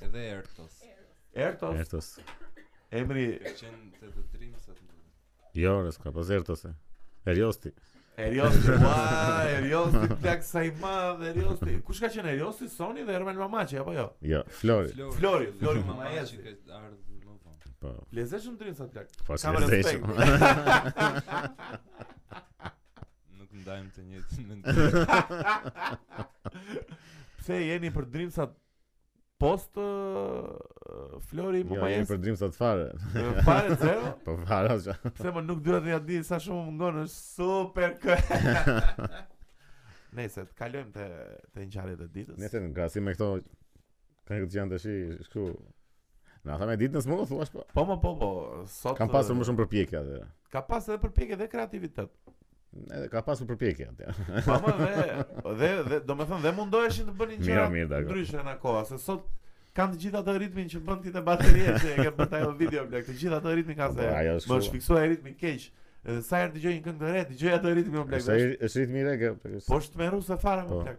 Speaker 3: Edhe Ertos.
Speaker 2: Ertos.
Speaker 1: Ertos.
Speaker 2: Emri
Speaker 3: Qenë të të dreams atë.
Speaker 1: Jo, res ka pas Ertos. e. Eriosti. [laughs]
Speaker 2: Eriosti, ua, Eriosti, plak sa i madh, Eriosti. Kush ka qenë Eriosti? Soni dhe Erman Mamaçi apo jo?
Speaker 1: Jo, Flori.
Speaker 2: Flori, Flori
Speaker 3: mama e
Speaker 2: Mamaçi.
Speaker 3: që ka ardhur më vonë.
Speaker 1: Po.
Speaker 2: Lezeshëm drin sa plak.
Speaker 1: Po si
Speaker 2: Kam
Speaker 1: e
Speaker 2: respekt.
Speaker 1: zeshëm.
Speaker 3: Nuk ndajmë të njëjtin mendim.
Speaker 1: [laughs]
Speaker 2: Pse jeni për drimsat post ë, Flori
Speaker 1: Jo, jemi
Speaker 2: Mamaçi?
Speaker 1: për dream sa të fare.
Speaker 2: Fare zero?
Speaker 1: Po fare asha.
Speaker 2: Pse më nuk dyra të ja di sa shumë më ngon, është super kë.
Speaker 1: [laughs]
Speaker 2: Nëse të kalojmë te te ngjarjet e ditës.
Speaker 1: Nëse në krasi me këto kanë këtë janë tash shku. Na tha me ditën s'mo thuash po.
Speaker 2: Po më po po, sot eh,
Speaker 1: Kam pasur më shumë përpjekje atë.
Speaker 2: Ka pasur edhe përpjekje dhe kreativitet.
Speaker 1: Edhe ka pasur përpjekje atë.
Speaker 2: Po më dhe dhe, dhe do të thonë dhe mundoheshin të bënin
Speaker 1: Mirë,
Speaker 2: gjëra
Speaker 1: mirë, dakor.
Speaker 2: ndryshe në kohë, se sot kanë të gjithë atë ritmin që bën ti te bateria që e ke bërë ajo video blek, të gjithë atë ritmin ka se.
Speaker 1: Po, ajo është
Speaker 2: Më
Speaker 1: kështu.
Speaker 2: është fiksuar ritmi keq. Edhe sa herë dëgjoj një këngë të re, dëgjoj atë ritmin më blek.
Speaker 1: Po, Është
Speaker 2: dhe është-
Speaker 1: është ritmi i re kjo.
Speaker 2: Po është me ruse fare më
Speaker 1: Po.
Speaker 2: blek.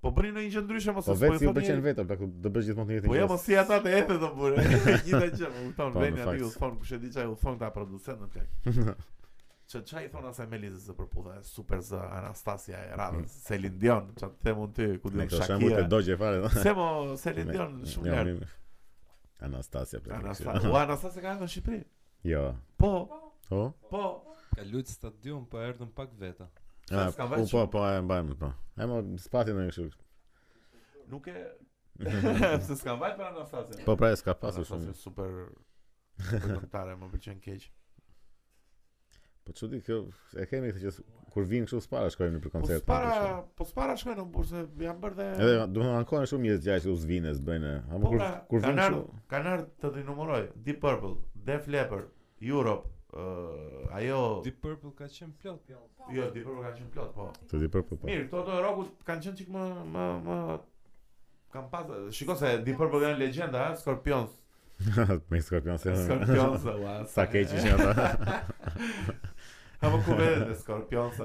Speaker 2: Po bëni ndonjë gjë ndryshe mos
Speaker 1: Po
Speaker 2: e s'po
Speaker 1: vetë
Speaker 2: e
Speaker 1: si u
Speaker 2: thoni
Speaker 1: pëlqen
Speaker 2: njeri.
Speaker 1: vetë, plak, do bësh gjithmonë të njëjtin.
Speaker 2: Po jo,
Speaker 1: gjë.
Speaker 2: mos si ata të ethe të
Speaker 1: [laughs]
Speaker 2: burë. Gjithë gjë, më kupton,
Speaker 1: Po, në
Speaker 2: vjen aty
Speaker 1: fakt.
Speaker 2: u thon kush e di çaj u thon ta producent në
Speaker 1: [laughs]
Speaker 2: plak. Që çaj i thon asaj Melizës së përpudha, e super zë Anastasia e radhës, Selin Dion, ç'a të them unë ty, ku
Speaker 1: me
Speaker 2: diun
Speaker 1: këto shembuj të
Speaker 2: Shakira.
Speaker 1: dogje fare. do.
Speaker 2: [laughs] Se mo Selin
Speaker 1: Me-
Speaker 2: Dion shumë
Speaker 1: Jo,
Speaker 2: lart.
Speaker 1: mi- Anastasia plak.
Speaker 2: Anastasia, u Anastasia ka ardhur në Shqipëri.
Speaker 1: [laughs] Jo.
Speaker 2: Po,
Speaker 1: Po.
Speaker 2: po.
Speaker 3: Ka luajt stadium, po erdhën pak veta.
Speaker 1: Ah,
Speaker 2: s'ka
Speaker 1: po,
Speaker 2: vajt
Speaker 1: po,
Speaker 2: shumë.
Speaker 1: po, e mbajmë, po. E mo, spati në një
Speaker 2: [laughs]
Speaker 1: kështu.
Speaker 2: Nuk e [laughs] pse s'ka vajt për Anastasia.
Speaker 1: Po pra, e s'ka pasur
Speaker 2: Anastasia
Speaker 1: shumë.
Speaker 2: super super këngëtare, më pëlqen keq.
Speaker 1: Po çudi kjo, e kemi këtë që s- kur vin kështu spara shkojmë në për
Speaker 2: Po
Speaker 1: koncert.
Speaker 2: para, po para shkojnë në bursë, janë bërë dhe
Speaker 1: Edhe do të thonë ankohen shumë njerëz gjaj që u zvines bëjnë. A më
Speaker 2: Po
Speaker 1: kur
Speaker 2: pra,
Speaker 1: kur vin
Speaker 2: kanë
Speaker 1: kështu.
Speaker 2: ardhur kanë ardhur të dinumëroj Deep Purple, Def Leppard, Europe, ë, ajo
Speaker 3: Deep Purple ka qenë plot.
Speaker 2: jo Deep Purple kanë qenë plot, po.
Speaker 1: Të di për po. po.
Speaker 2: Mirë, këto të rockut kanë qenë çik më më më kanë pas shiko se Deep Purple janë legjenda, ha, Scorpions,
Speaker 1: [laughs] Me skorpion se.
Speaker 2: Scorpions, ua.
Speaker 1: [laughs] Sa keq ishin ata.
Speaker 2: [laughs] Apo ku vetë dhe Scorpions.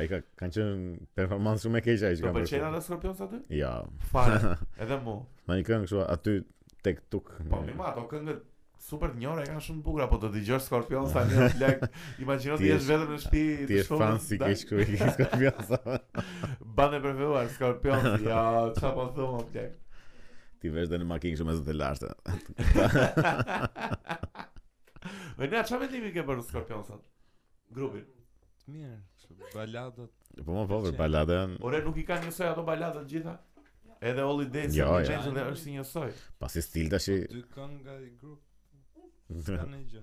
Speaker 1: Ai ka kanë qenë performancë shumë e keqe ai që
Speaker 2: Do
Speaker 1: kanë.
Speaker 2: pëlqen
Speaker 1: bërë.
Speaker 2: ata Scorpions aty?
Speaker 1: Ja, [laughs]
Speaker 2: Fare, edhe mu.
Speaker 1: në një këngë kështu aty tek tuk.
Speaker 2: Po mi ma, ato këngët super të njëra e kanë shumë të bukura, po të dëgjosh Scorpions
Speaker 1: [laughs]
Speaker 2: tani o plak. Imagjino
Speaker 1: Ti
Speaker 2: ti jesh
Speaker 1: je-
Speaker 2: vetëm në shtëpi
Speaker 1: Ti je fan si
Speaker 2: da-
Speaker 1: keq kështu i ke skorpion sa.
Speaker 2: Bande preferuar Scorpion.
Speaker 1: [laughs]
Speaker 2: Ja, ça po thua më plak.
Speaker 1: Ti vesh dhe në makinë kështu me zë të lashtë.
Speaker 2: Po ne çfarë vendimi ke për Scorpion sot? Grupin.
Speaker 3: Të mirë, kështu baladat.
Speaker 1: Po më po për balada janë.
Speaker 2: Ore nuk i kanë njësoj ato baladat gjitha? Edhe Holly Day
Speaker 1: Jo,
Speaker 2: jo,
Speaker 1: jo.
Speaker 2: ja. dhe është i njësoj.
Speaker 1: Pasi stil tash. i-
Speaker 3: Dy kënga i grup.
Speaker 2: Po,
Speaker 1: [laughs]
Speaker 3: Ka një gjë.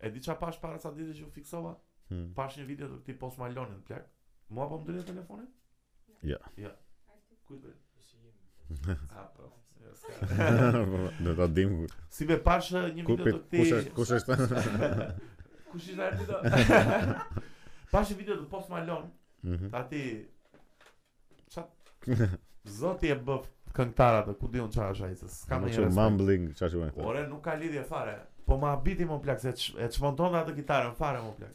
Speaker 2: E di çfarë pash para sa ditë që u fiksova?
Speaker 1: Hmm.
Speaker 2: Pash një video të këtij Post Malone-it plak. Mua po më doli telefonin?
Speaker 1: Jo.
Speaker 2: Jo. Ku i doli? [laughs] Ah, po. Ja, s'ka.
Speaker 1: Po, Do ta dim ku-
Speaker 2: Si be pash eh, një
Speaker 1: ku
Speaker 2: video
Speaker 1: pit
Speaker 2: të
Speaker 1: kush
Speaker 2: këtij
Speaker 1: është kush është.
Speaker 2: [laughs] Kush ishte ai video? Pash një video të Post Malone
Speaker 1: Mhm.
Speaker 2: Tati Qa Zoti e bëf këngëtara të ku diun çfarë është ai se s'ka
Speaker 1: Kam
Speaker 2: më
Speaker 1: shumë mumbling, çfarë quhen këto?
Speaker 2: Ore nuk ka lidhje fare. Po ma habiti më plak se ç- e çmonton atë kitarën fare më plak.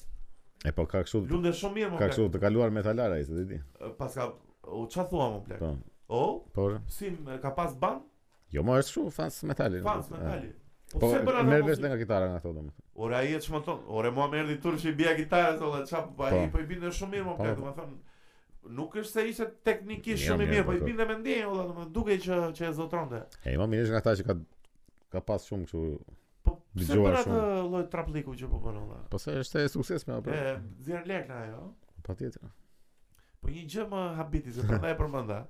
Speaker 1: E po ka kështu
Speaker 2: Lunde shumë mirë
Speaker 1: ka
Speaker 2: më plak.
Speaker 1: kështu të kaluar metalar ai, se ti di.
Speaker 2: E, Paska u ç'a thua më plak.
Speaker 1: Po.
Speaker 2: O
Speaker 1: Po. ore.
Speaker 2: si m- ka pas ban
Speaker 1: Jo, më është shumë fans metali.
Speaker 2: fans
Speaker 1: nuk-
Speaker 2: me
Speaker 1: e.
Speaker 2: tali. Po
Speaker 1: Po,
Speaker 2: pse bën atë?
Speaker 1: merr vesh
Speaker 2: mos-
Speaker 1: dhe nga kitara nga ato domethënë.
Speaker 2: Ore ai e çmonton. Ore mua më erdhi turp që i bija kitarën thonë ç'a po ai
Speaker 1: Po.
Speaker 2: po i binde shumë mirë më
Speaker 1: Po,
Speaker 2: plak,
Speaker 1: po.
Speaker 2: domethënë nuk është se ishte teknikisht
Speaker 1: Mirë,
Speaker 2: shumë i
Speaker 1: mirë,
Speaker 2: mirë, po
Speaker 1: po,
Speaker 2: i
Speaker 1: po.
Speaker 2: binde me ndjenjë, valla, domethënë dukej që që e zotronte.
Speaker 1: E më mirë është nga ata që ka ka pas shumë kështu.
Speaker 2: Po pse
Speaker 1: Dëgjuar
Speaker 2: për atë
Speaker 1: shumë.
Speaker 2: lloj trapliku që po bën olla?
Speaker 1: Po se është e suksesshme apo?
Speaker 2: E, zirë lek në ajo.
Speaker 1: Patjetër.
Speaker 2: Po një gjë më habiti, se përnda e përmënda.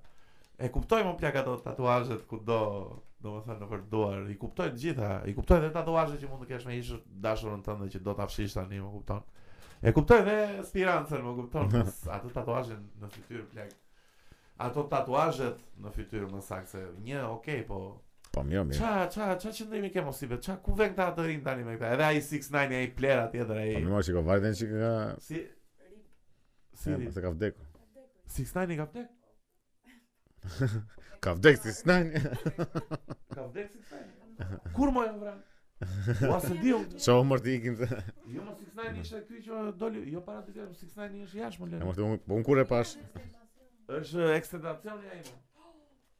Speaker 2: E kuptoj më plak ato tatuazhet ku do, do më thënë në për duar. I kuptoj të gjitha, i kuptoj dhe tatuazhet që mund të kesh me ishë dashurën tënde që do të afshish tani, më kupton. E kuptoj dhe spirancën, më kupton, s- atë tatuazhen në fytyrë plak. Ato tatuazhet në fytyrë më saktë se një, okay, po
Speaker 1: Po mirë, mirë.
Speaker 2: Qa, qa, qa qëndrimi ke mos i qa, ku ven këta të rinë tani me këta, edhe ai 6ix9ine, ai plera tjetër,
Speaker 1: Po
Speaker 2: ai...
Speaker 1: mirë, shikoj vajtën që ka
Speaker 2: Si... Si
Speaker 1: e,
Speaker 2: ri?
Speaker 1: se ka vdekur.
Speaker 2: 6ix9ine ka vdek?
Speaker 1: Ka vdekur si snan.
Speaker 2: Ka vdek 6ix9ine? Kur më e vran? Ua se di unë.
Speaker 1: [laughs] Ço mort i ikin. se-
Speaker 2: Jo më 6ix9ine ishte ky që doli, jo para dy vjetëve 6ix9ine është jashtë më
Speaker 1: E
Speaker 2: lënë.
Speaker 1: mort unë, po unë kur e pash.
Speaker 2: Është ekstentacioni ai më.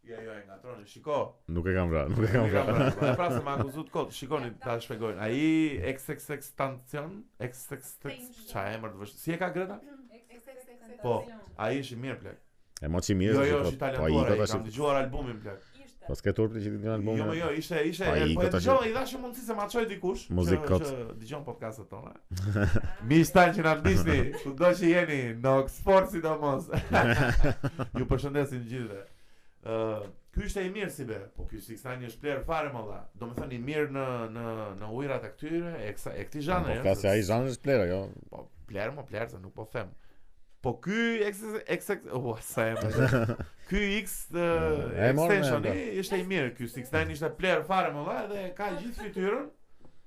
Speaker 2: Ja, jo, e ngatroni. Shiko,
Speaker 1: Nuk e kam vrarë, nuk e kam
Speaker 2: Kam
Speaker 1: vrarë.
Speaker 2: pra, pra se ma akuzut kot, shikoni ta shpjegojnë. Ai XXX tancion, XXX ça emër të vështirë. Si e ka Greta?
Speaker 1: Mm.
Speaker 2: Po. Ai është i mirë plak.
Speaker 1: E moçi mirë.
Speaker 2: Jo,
Speaker 1: që
Speaker 2: jo,
Speaker 1: kot-
Speaker 2: është i
Speaker 1: Po ai
Speaker 2: talentuar,
Speaker 1: kot
Speaker 2: ai
Speaker 1: tash.
Speaker 2: kam dëgjuar albumin plak.
Speaker 1: Po s'ke turpi që ti kanë
Speaker 2: Jo,
Speaker 1: albumin.
Speaker 2: jo, jo, ishte ishte
Speaker 1: Po, ai
Speaker 2: po e
Speaker 1: kot tash-
Speaker 2: dëgjova, i dhashë mundësi se ma çoj dikush, që-
Speaker 1: Muzikot.
Speaker 2: që dëgjon podcastet tona. Miq tanë që na ndisni, kudo që jeni, në Oxford sidomos. Ju përshëndesim gjithëve. Ë, ky ishte i mirë si be, po ky Six Nine është player fare më dha. Domethënë i mirë në në në ujrat e këtyre, e kësa- e këtij
Speaker 1: Po
Speaker 2: zhanri. ëh,
Speaker 1: klasë
Speaker 2: se-
Speaker 1: ai zhanri është plera, jo.
Speaker 2: Po, player më player, se nuk po them. Po ky X X X- oh, sa e
Speaker 1: [laughs]
Speaker 2: më. Ky X
Speaker 1: E morë me
Speaker 2: extension
Speaker 1: ende.
Speaker 2: ishte i mirë, ky 69 ishte player fare më dha dhe ka gjithë fytyrën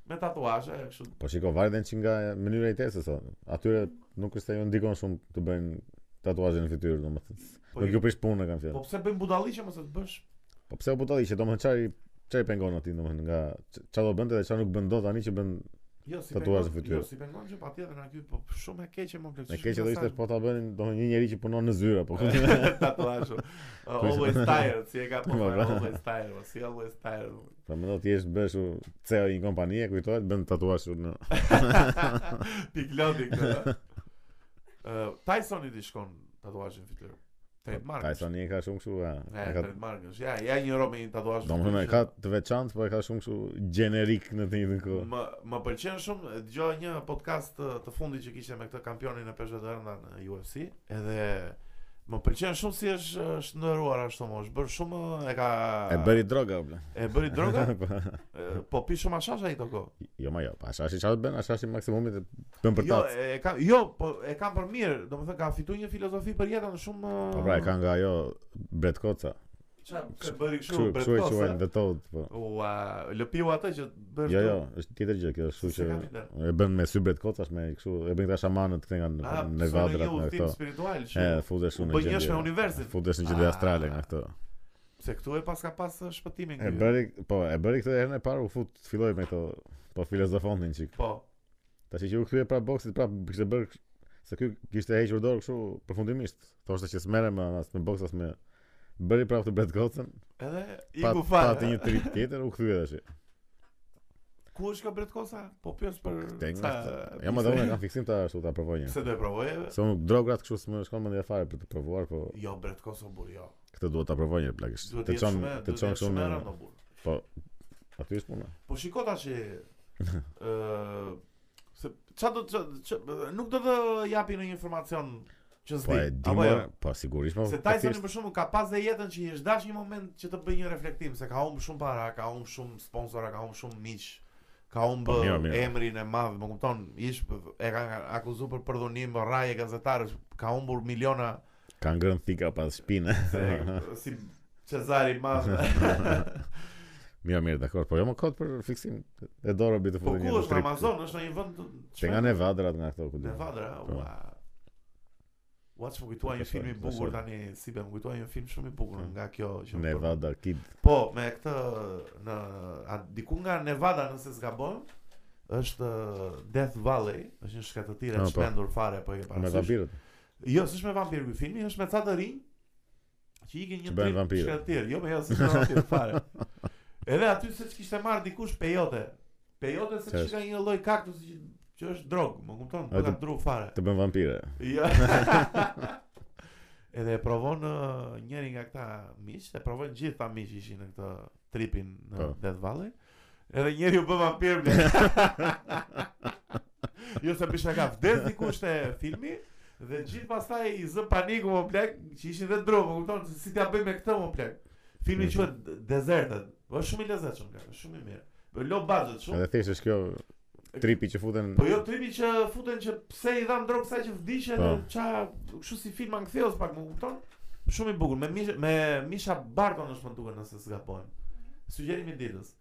Speaker 2: me tatuazhe kështu.
Speaker 1: Po shiko, varet që nga mënyra e testës. o. Atyre nuk është se ju ndikon shumë të bëjnë tatuazhe në fytyrë, domethënë.
Speaker 2: Po,
Speaker 1: Nuk
Speaker 2: i-
Speaker 1: ju prish punën kam
Speaker 2: po
Speaker 1: fjalë.
Speaker 2: pse bëjmë budalliqe mos e të bësh?
Speaker 1: Po pse u butalli që domethënë çfarë i- çfarë i pengon aty domethënë nga ç- çfarë do bënte dhe çfarë nuk bën dot tani që bën
Speaker 2: Jo, si
Speaker 1: Tatuazhe
Speaker 2: pengon-
Speaker 1: fytyrë.
Speaker 2: Jo, si pengon që patjetër na ky po shumë e keqe më plot.
Speaker 1: e keq do ishte po ta bënin domethënë një njerëz që punon në zyra, po ku-
Speaker 2: [laughs] tatuazhe.
Speaker 1: [laughs]
Speaker 2: Uh, Always tired, si e ka po,
Speaker 1: Po, bra.
Speaker 2: always tired, o, si always tired.
Speaker 1: Po mendo ti je bësh u CEO i një kompanie, kujtohet bën tatuazh u në
Speaker 2: Piklodi
Speaker 1: [laughs]
Speaker 2: këtë. Ë Tysoni ti shkon tatuazhin fytyrë. Trademark.
Speaker 1: Tyson e ka shumë kështu, a.
Speaker 2: Ja,
Speaker 1: e ka
Speaker 2: trademark. është. Ja, ja një robe me një tatuazh.
Speaker 1: Domethënë e
Speaker 2: fytyrë.
Speaker 1: ka të veçantë, po e ka shumë kështu gjenerik në të njëjtën kohë.
Speaker 2: Më më pëlqen shumë, e dëgjova një podcast të, të fundit që kishte me këtë kampionin e peshëve të rënda në UFC, edhe më pëlqen shumë si është është ndëruar ashtu më, është bërë shumë e ka
Speaker 1: E bëri droga bla.
Speaker 2: e bëri droga,
Speaker 1: [laughs] Po,
Speaker 2: [laughs] e, po pi shumë ashash ai toko.
Speaker 1: jo ma jo, pa ashashi çfarë bën, ashashi maksimumi të bën për
Speaker 2: Jo,
Speaker 1: tac.
Speaker 2: e ka jo, po e kam për mirë, domethënë ka fituar një filozofi për jetën shumë
Speaker 1: Po pra e ka nga ajo Bret Koca.
Speaker 2: Çfarë ke bëri kështu
Speaker 1: Kështu
Speaker 2: për
Speaker 1: kështu e quajnë
Speaker 2: kosë?
Speaker 1: The Toad, po.
Speaker 2: Ua, lëpiu atë që bësh.
Speaker 1: Jo,
Speaker 2: tu?
Speaker 1: jo, është tjetër gjë kjo, kështu
Speaker 2: Se
Speaker 1: që
Speaker 2: kam ide.
Speaker 1: e bën me sy Bret Kocash me kështu, e bën këta shamanët këta nga
Speaker 2: A,
Speaker 1: Nevada
Speaker 2: në
Speaker 1: Nevadrat
Speaker 2: një
Speaker 1: nga
Speaker 2: udhtim
Speaker 1: këto.
Speaker 2: spiritual
Speaker 1: E
Speaker 2: që
Speaker 1: futesh
Speaker 2: u
Speaker 1: unë
Speaker 2: bën njësh Po me universin.
Speaker 1: Futesh në gjendje
Speaker 2: Ah.
Speaker 1: astrale nga këto.
Speaker 2: se këtu e paska pas uh, shpëtimin
Speaker 1: E
Speaker 2: këtu.
Speaker 1: bëri, po, e bëri këtë herën e parë u fut, filloi me këto, po filozofonin çik.
Speaker 2: Po,
Speaker 1: Tash që u kthye prap boksit, prap kishte bërë ksh- se ky kishte hequr dorë kështu përfundimisht. Thoshte që s'merrem me as me boksas me bëri prap të Bret Kocën.
Speaker 2: edhe
Speaker 1: Pa
Speaker 2: iku
Speaker 1: pa të
Speaker 2: fare.
Speaker 1: një trip tjetër u kthye tash.
Speaker 2: Ku është ka Bretkosa? Po pyes për
Speaker 1: Te nga.
Speaker 2: sa-
Speaker 1: Ja më dhënë kam fiksim ta ashtu ta provoj një.
Speaker 2: Se do e provoje?
Speaker 1: Se unë drograt kështu s'më shkon mendja fare për të provuar, po
Speaker 2: Jo, Bretkosa bur, jo.
Speaker 1: këtë duhet ta provoj një plagësh.
Speaker 2: Duhet
Speaker 1: Të
Speaker 2: jetë
Speaker 1: çon
Speaker 2: shumë-
Speaker 1: të
Speaker 2: duhet
Speaker 1: çon
Speaker 2: jetë
Speaker 1: kështu
Speaker 2: shumë
Speaker 1: në
Speaker 2: e rëndë, bur.
Speaker 1: aty është puna.
Speaker 2: Po shiko tash që
Speaker 1: [laughs]
Speaker 2: ë se ça do të ç- nuk do të japi në informacion që
Speaker 1: Po e
Speaker 2: s'di.
Speaker 1: di
Speaker 2: Apo
Speaker 1: më,
Speaker 2: jo.
Speaker 1: po sigurisht më.
Speaker 2: Se Tysoni për shkakun ka pas dhe jetën që i është dash një moment që të bëj një reflektim se ka humb shumë para, ka humb shumë sponsora, ka humb shumë miq, ka humb
Speaker 1: Po, mirë, mirë.
Speaker 2: emrin e madh, më kupton, ish e kanë akuzuar për përdhunim, rraje gazetarësh, ka humbur miliona
Speaker 1: ka ngrënë thika pas shpinë.
Speaker 2: se, si Cezari i madh.
Speaker 1: [laughs] Mirë, mirë, dakor, po jo më kot për fiksim e dorë bi të
Speaker 2: [laughs] po
Speaker 1: futin
Speaker 2: ku
Speaker 1: në
Speaker 2: është në
Speaker 1: trip.
Speaker 2: Amazon, është në një vend
Speaker 1: Te nga Nevadrat nga këto ku di.
Speaker 2: Nevada,
Speaker 1: Po.
Speaker 2: ua. Ua, që më kujtua një
Speaker 1: Besoj, Po.
Speaker 2: film i bukur
Speaker 1: besoj.
Speaker 2: tani, si be, më kujtua një film shumë i bukur nga kjo që më përmend.
Speaker 1: Nevada Kid.
Speaker 2: Po, me këtë në a, diku nga Nevada nëse s'gabon, është uh, Death Valley, është një shkatëtire
Speaker 1: Ah,
Speaker 2: e
Speaker 1: po.
Speaker 2: çmendur fare, po e ke
Speaker 1: Me
Speaker 2: parasysh.
Speaker 1: vampirët.
Speaker 2: Jo, s'është me vampir ky filmi, është me ca të rinj që ikin një
Speaker 1: Që bëhen vampirë.
Speaker 2: shkatëtirë. Jo, po jo, s'është me vampir fare. Edhe aty se kishte marr dikush pejote. Pejote se
Speaker 1: Ç'është?
Speaker 2: kishte ka një lloj kaktusi që, që është drog, më kupton,
Speaker 1: A,
Speaker 2: po ka
Speaker 1: të-
Speaker 2: dru fare.
Speaker 1: Të bën vampire.
Speaker 2: Jo. [laughs] Edhe e provon ë, njëri nga këta miq, e provon gjithë ta miq ishin në këtë tripin në
Speaker 1: Po.
Speaker 2: Death Valley. Edhe njëri u bë vampir.
Speaker 1: [laughs]
Speaker 2: ble. jo se bishte ka vdes dikush te filmi dhe gjithë pastaj i zë paniku më plak që ishin dhe dru, më kupton se si t'ja bëj me këtë më plak. Filmi
Speaker 1: Mhm.
Speaker 2: quhet Deserted. Është shumë i lezetshëm plak, është shumë i mirë. Low budget shumë.
Speaker 1: Edhe thjesht është kjo tripi që futen
Speaker 2: Po jo tripi që futen që pse i dham drogë kësaj që vdiqen,
Speaker 1: Po.
Speaker 2: ça, kështu si filma ngkthios pak, më kupton? Shumë i bukur. Me Misha, me Misha Barton është më duket nëse s'gabojmë. Sugjerimi i ditës.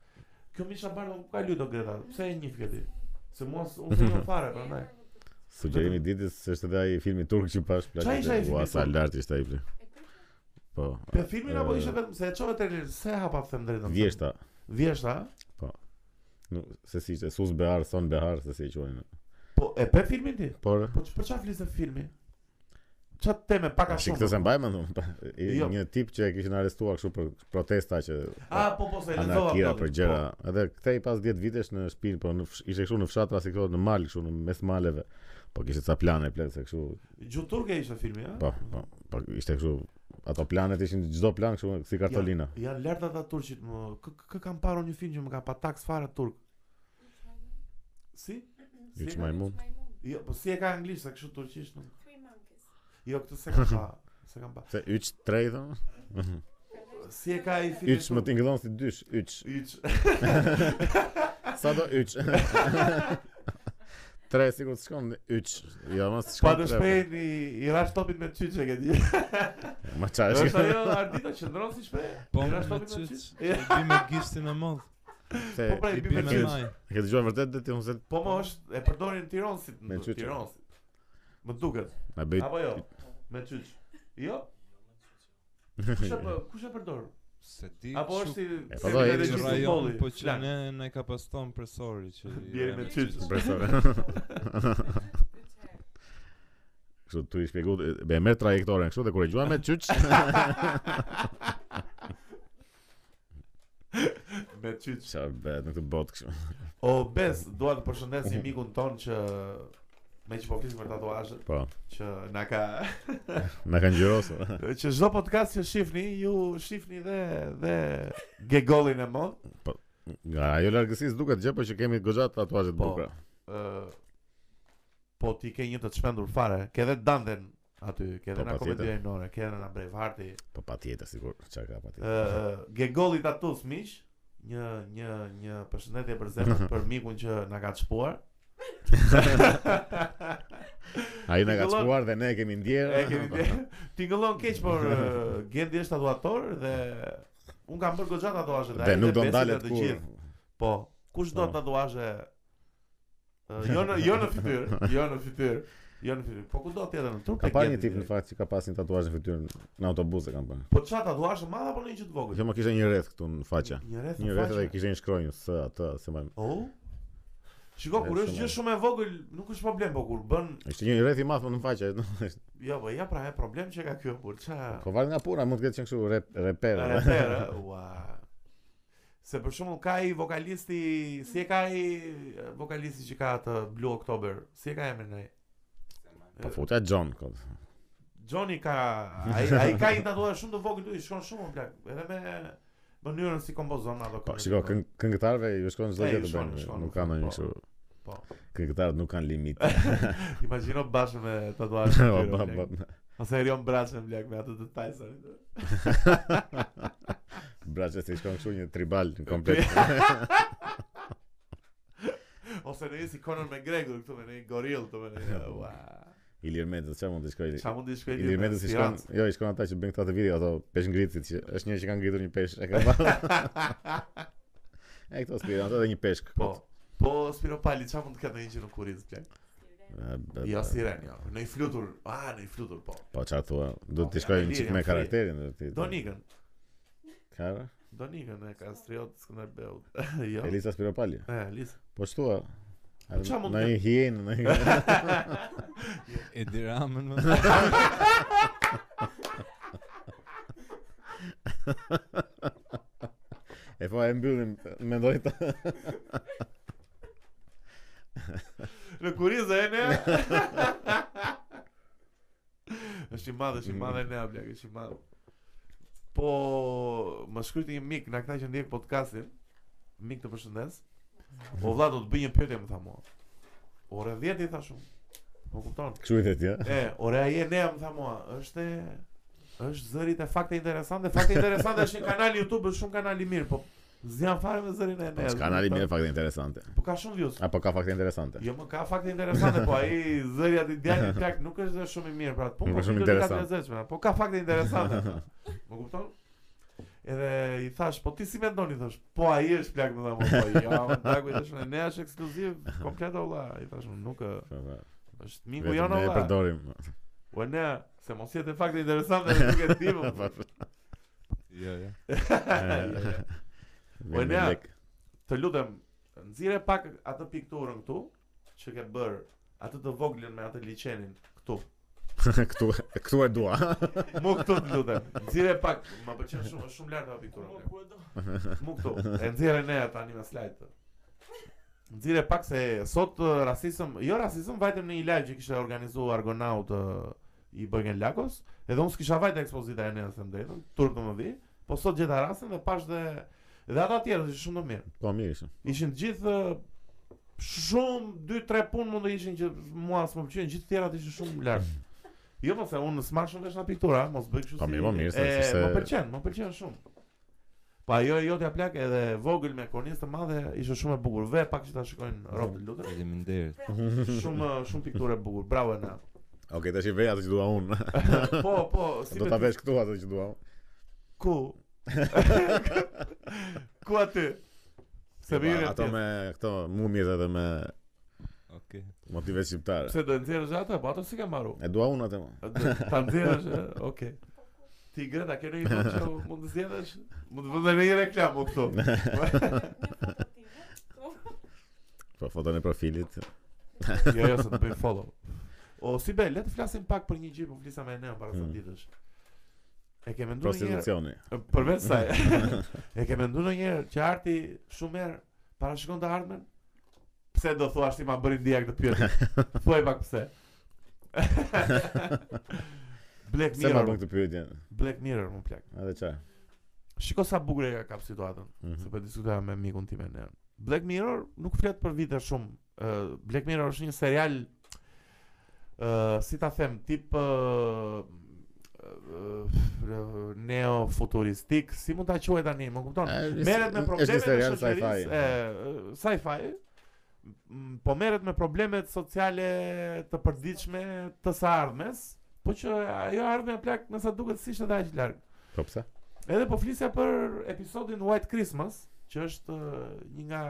Speaker 2: Kjo Misha Barton ku ka lutë Greta? Pse e njeh këtë? Se mos unë se jam fare
Speaker 1: [laughs]
Speaker 2: prandaj.
Speaker 1: sugjerimi i ditës është edhe ai filmi turk që pash plak.
Speaker 2: Çfarë ishte ai filmi
Speaker 1: Ua sa
Speaker 2: turk?
Speaker 1: lart ishte ai. bla. Po.
Speaker 2: Për filmin apo
Speaker 1: Eh,
Speaker 2: ishte vetëm se e çove trailer, se hapa them drejtën.
Speaker 1: Vjeshta.
Speaker 2: Vjeshta? a?
Speaker 1: Nuk se si ishte Sus Behar, Son Behar, se si e quajnë.
Speaker 2: Po e pe filmin ti?
Speaker 1: Por
Speaker 2: Po që- për çfarë fliste filmi? çat teme pak a
Speaker 1: Shi
Speaker 2: shumë.
Speaker 1: këtë se mbaj më thonë, pa- i-
Speaker 2: Jo.
Speaker 1: Një tip që e kishin arrestuar kështu për protesta që
Speaker 2: A po po se e lexova.
Speaker 1: anarkira
Speaker 2: po,
Speaker 1: për
Speaker 2: po.
Speaker 1: gjëra. Edhe kthej pas 10 vitesh në shtëpi, po në fsh- ishte kështu në fshat rasti këto në mal kështu në mes maleve. Po kishte ca plane plot se kështu,
Speaker 2: Gjuhë turke Po, ishte filmi, a?
Speaker 1: po, po, po ishte kështu ato planet ishin çdo plan kështu si kartolina.
Speaker 2: Janë janë lart ata turqit, më kë, kë- kë kam parë unë një film që më ka pa taks fare turk. Si? Si
Speaker 1: Iç
Speaker 2: e ka-
Speaker 1: majmun.
Speaker 2: Jo, po si e ka anglisht, sa kështu turqisht nuk.
Speaker 4: Three monkeys.
Speaker 2: Jo, këtë se kam pa. Se kam pa.
Speaker 1: Se yç trej thon.
Speaker 2: Si e ka ai filmi?
Speaker 1: Yç më tingëllon si dysh, yç.
Speaker 2: Yç.
Speaker 1: Sa do
Speaker 2: [laughs]
Speaker 1: yç. Tre sikur të shkon yç. Jo, mos
Speaker 2: Pa
Speaker 1: shkon.
Speaker 2: të
Speaker 1: tre,
Speaker 2: shpejt i, i rash topit me çyçe që di.
Speaker 1: po. Ma çaj.
Speaker 2: Është ajo Ardita që ndron si shpejt.
Speaker 3: Po
Speaker 2: i
Speaker 3: me
Speaker 2: rash topit me
Speaker 3: çyç.
Speaker 2: çyç.
Speaker 3: E bi me gishtin e madh.
Speaker 1: [laughs] Se
Speaker 2: Po pra
Speaker 3: I
Speaker 2: i
Speaker 3: bi
Speaker 2: bim
Speaker 3: me
Speaker 1: çyç.
Speaker 3: maj.
Speaker 1: e ke dëgjuar vërtet dhe ti unë se
Speaker 2: Po më është e përdorin Tironsit,
Speaker 1: Me jo.
Speaker 2: në
Speaker 1: çyç.
Speaker 2: Tironsit. Më duket.
Speaker 1: na [laughs] bëj
Speaker 2: Apo jo? Me çyç. Jo? Kush e pë- kush e përdor?
Speaker 3: Se di.
Speaker 2: Apo është si
Speaker 1: E,
Speaker 2: si
Speaker 1: po, do,
Speaker 2: vetë
Speaker 1: e
Speaker 2: dhe
Speaker 1: di.
Speaker 2: gjithë
Speaker 3: rajon,
Speaker 2: futbolli,
Speaker 3: po që
Speaker 2: plan.
Speaker 3: ne ne ka paston presori që i
Speaker 2: Bjeri me
Speaker 3: rem
Speaker 2: çyç.
Speaker 3: çyç.
Speaker 2: [laughs]
Speaker 1: Profesor. Kështu tu i shpjegu e merr trajektoren kështu dhe kur e gjuam me [laughs] çyç
Speaker 2: me çyç.
Speaker 1: ça bëhet në këtë botë kështu.
Speaker 2: O Bes, dua të përshëndes
Speaker 1: [laughs]
Speaker 2: një mikun ton që me që po flisim për tatuazhet,
Speaker 1: Po,
Speaker 2: që na ka
Speaker 1: na kanë gjirosur.
Speaker 2: [laughs] që çdo podcast që shihni, ju shihni dhe dhe gegollin e mod.
Speaker 1: Nga ajo largësisë duket gjë, por që kemi goxha tatuazhe të
Speaker 2: Po.
Speaker 1: bukura.
Speaker 2: ë po ti ke një të çmendur fare, ke edhe Danden aty, ke edhe
Speaker 1: Po,
Speaker 2: na
Speaker 1: patjetër.
Speaker 2: komedi ajnore, ke edhe na Bravehearti.
Speaker 1: Po patjetër sigur, çka ka patjetër.
Speaker 2: ë gegolli tatus miq, një një një përshëndetje për
Speaker 1: [laughs]
Speaker 2: zemrën për mikun që na ka çpuar.
Speaker 1: Ai na ka
Speaker 2: Tingëllon-
Speaker 1: çuar dhe ne e kemi ndjerë.
Speaker 2: E kemi
Speaker 1: [laughs]
Speaker 2: bje- Tingëllon keq, por ë, Gendi është tatuator dhe un kam bërë goxha tatuazhe
Speaker 1: Dhe nuk do ndalet
Speaker 2: të
Speaker 1: kur.
Speaker 2: gjithë. Po, kush do
Speaker 1: Po.
Speaker 2: tatuazhe ë, jo në jo në fytyrë,
Speaker 1: [laughs]
Speaker 2: jo në fytyrë, jo në fytyrë. Po ku do tjetër në trup?
Speaker 1: Ka
Speaker 2: tek
Speaker 1: parë një
Speaker 2: Gendi
Speaker 1: tip në
Speaker 2: direkt.
Speaker 1: fakt që ka pas një tatuazh në fytyrë në autobus e kam parë. Po
Speaker 2: Po çfarë tatuazhe madh apo në një gjë të vogël?
Speaker 1: Kjo më kishte një rreth këtu në faqe.
Speaker 2: Një rreth.
Speaker 1: Jo, Një
Speaker 2: në
Speaker 1: rreth
Speaker 2: faqe.
Speaker 1: edhe kishte një shkronjë s atë se më.
Speaker 2: Oh. Shiko, kur
Speaker 1: Është
Speaker 2: është gjë
Speaker 1: shumë-
Speaker 2: shumë e vogël, nuk është problem, po kur bën,
Speaker 1: Ishte një rreth i madh po në
Speaker 2: [laughs]
Speaker 1: faqe.
Speaker 2: jo, po ja pra, e problem që ka kjo, kur ç'a.
Speaker 1: Po varet nga puna, mund të ketë qenë kështu rep- reper.
Speaker 2: Refer, ua. Se për shembull ka i vokalisti, si e ka i vokalisti që ka atë Blue October, si e ka emrin ai?
Speaker 1: Po futja John kod.
Speaker 2: Johnny ka ai ai ka i tatuazh shumë të vogël, i shkon shumë plak, edhe me mënyrën si kompozon ato
Speaker 1: Po,
Speaker 2: këngët.
Speaker 1: shiko, këng këngëtarve ju shkon çdo
Speaker 2: E,
Speaker 1: gjë
Speaker 2: ju
Speaker 1: të
Speaker 2: shkon, ju
Speaker 1: bëjnë,
Speaker 2: shkon,
Speaker 1: nuk kanë ndonjë
Speaker 2: po,
Speaker 1: kështu.
Speaker 2: po.
Speaker 1: Këngëtarët nuk kanë
Speaker 2: [laughs]
Speaker 1: limit. [laughs]
Speaker 2: Imagjino bashkë me tatuazh.
Speaker 1: Po, po, po.
Speaker 2: Ose Erion Braçën plak me atë detajsën.
Speaker 1: Braçe se shkon kështu një tribal në
Speaker 2: [laughs]
Speaker 1: komplet.
Speaker 2: Ose në jesi Conor McGregor këtu me një goril këtu me një
Speaker 1: [laughs]
Speaker 2: ua.
Speaker 1: Ilir Mendës çfarë mund të shkojë?
Speaker 2: Qa mund të shkoj
Speaker 1: Ilir Mendës i shkon, jo, i shkon ata që bëjnë këta të video ato pesh ngritit që është një që kanë ngritur një pesh, e
Speaker 2: [laughs]
Speaker 1: ka marrë. E këto spirit, ato dhe një peshk.
Speaker 2: Po. Po Spiro Pali qa mund të ketë në një që nuk kuriz plak?
Speaker 1: E, be-
Speaker 2: Jo siren, jo. Në i flutur, a, në i flutur, po.
Speaker 1: Po çfarë thua? Do
Speaker 2: Po,
Speaker 1: të shkojë
Speaker 2: Ilir,
Speaker 1: një çik
Speaker 2: jam
Speaker 1: me
Speaker 2: free.
Speaker 1: karakterin do ti.
Speaker 2: Donikën,
Speaker 1: Kara?
Speaker 2: Donikën e ka striot Skënderbeu. [laughs] jo.
Speaker 1: Elisa Spiropali.
Speaker 2: E, Elis.
Speaker 1: Po ç'thua?
Speaker 2: çfarë mund të
Speaker 1: Në një hienë, në një
Speaker 2: [laughs]
Speaker 3: E diramën më.
Speaker 1: E po e mbyllim, mendoj ta.
Speaker 2: Në kuriz e
Speaker 1: [laughs]
Speaker 2: ne. është i madh, është i madh e ne plak, është i madh. Po, më shkryti një mik nga këta që ndjek podcastin. Mik të përshëndes. O vlla do të bëj një pyetje më tha mua. Ora 10 i thash unë. Po kupton.
Speaker 1: Kështu i
Speaker 2: [laughs]
Speaker 1: thotë, ja.
Speaker 2: E, ora ai e ne më tha mua, është e është zërit e fakte interesante, fakte interesante është një kanal YouTube, është shumë kanal i mirë, po zjan fare me zërin e
Speaker 1: Po,
Speaker 2: ne.
Speaker 1: s'ka nali mirë fakte interesante.
Speaker 2: Po ka shumë views.
Speaker 1: Apo ka fakte interesante. [laughs]
Speaker 2: Jo, më ka fakte interesante, po ai zëria i djalit plak nuk është dhe shumë i mirë për atë punë.
Speaker 1: Nuk
Speaker 2: po
Speaker 1: është shumë
Speaker 2: video dikat
Speaker 1: interesant.
Speaker 2: e lezetshme, Po ka fakte interesante. Më kupton? Edhe i thash, po ti si mendon i thash, po ai është plak më tha, "Po,
Speaker 1: [laughs]
Speaker 2: po ja, më tha, ku i thash, ne është ekskluziv, komplet olla, i thash, "Unë nuk ë,
Speaker 1: Po, po. Vetëm
Speaker 2: është miku jon
Speaker 1: Ne e
Speaker 2: olla.
Speaker 1: përdorim.
Speaker 2: Po ne, se mos jetë fakte interesante, ne nuk e di më.
Speaker 1: [laughs] Po,
Speaker 3: Jo, jo.
Speaker 1: Po
Speaker 2: ne- [laughs] Të lutem, nxire pak atë pikturën këtu që ke bër, atë të voglën me atë liçenin këtu.
Speaker 1: [laughs] këtu këtu e dua.
Speaker 2: Mu këtu të lutem. Nxire pak, më pëlqen shumë, është shumë lart apo
Speaker 4: Po,
Speaker 2: piktura.
Speaker 4: ku e do?
Speaker 2: Mu këtu. E nxire ne tani me slide. Nxire pak se sot ë, rasizëm, jo rasizëm, vajtëm në një live që kishte organizuar Argonaut ë, i Bëgen Lakos, edhe unë s'kisha vajtë ekspozita e nëse më drejtën, turp të më vi, po sot gjeta rastin dhe pash dhe dhe ata tjerë ishin shumë të mirë.
Speaker 1: Po mirë ishte.
Speaker 2: Ishin të gjithë ë, shumë 2-3 punë mund të ishin që mua s'më pëlqejnë, gjithë të tjerat ishin shumë lart. Jo po se unë smashëm vesh na piktura, mos bëj kështu
Speaker 1: Mm. Po, mirë, po, mirë, se-
Speaker 2: e,
Speaker 1: se-
Speaker 2: më pëlqen, më pëlqen shumë. Pa ajo e jotja plak edhe vogël me kornizë të madhe ishte shumë e bukur. Ve pak që ta
Speaker 1: Mm.
Speaker 2: shikojnë
Speaker 1: [laughs]
Speaker 2: robë lutem.
Speaker 3: Faleminderit.
Speaker 2: Shumë shumë pikturë e bukur. Bravo na.
Speaker 1: Okej, tash i vej atë që dua
Speaker 2: [laughs]
Speaker 1: unë.
Speaker 2: Po, po, si
Speaker 1: Do
Speaker 2: me
Speaker 1: ta
Speaker 2: ty-
Speaker 1: vesh këtu atë që dua. unë.
Speaker 2: ku?
Speaker 1: [laughs]
Speaker 2: ku aty? Se
Speaker 1: Po,
Speaker 2: më hyrën
Speaker 1: ato
Speaker 2: pjesë.
Speaker 1: me këto mumjet edhe me
Speaker 3: Okej.
Speaker 1: motive shqiptare.
Speaker 2: Pse do nxjerrësh atë? Po ato si ka marrë?
Speaker 1: E dua unë atë. mo.
Speaker 2: Ta nxjerrësh, ë? okay. Ti Greta, ke ndonjë gjë që mund të zgjedhësh? Mund të vëndë një reklamë këtu.
Speaker 1: Po foton e profilit.
Speaker 2: Jo, jo, se të bëj follow. O si be, le të flasim pak për një gjë, po flisa me Neo para sa
Speaker 1: Mm.
Speaker 2: ditësh. E ke menduar një herë [laughs]
Speaker 1: Prostitucioni. [laughs]
Speaker 2: përveç saj. e ke menduar ndonjëherë që arti shumë herë parashikon të ardhmen? Pse do thuash ti ma bëri dia këtë pyetje? Thuaj pak [laughs] pse. Black
Speaker 1: Se ma
Speaker 2: Mirror,
Speaker 1: bën këtë pyetje?
Speaker 2: Black Mirror më plak.
Speaker 1: Edhe çfarë?
Speaker 2: Shiko sa bukur e ka kap situatën.
Speaker 1: Mhm.
Speaker 2: Se po diskutoja me mikun tim e ne. Black Mirror nuk flet për vite shumë. Ë, Black Mirror është një serial ë si ta them, tip ë uh, neo futuristik, si mund ta quaj tani, më kupton? Merret
Speaker 1: Është
Speaker 2: me
Speaker 1: një
Speaker 2: problemet e
Speaker 1: serial sci-fi.
Speaker 2: shoqërisë, e, ë, sci-fi, m, po merret me problemet sociale të përditshme të së ardhmes, po që ajo ardhme plak me sa duket si ishte dhe aq larg.
Speaker 1: Po pse?
Speaker 2: Edhe po flisja për episodin White Christmas, që është ë, një nga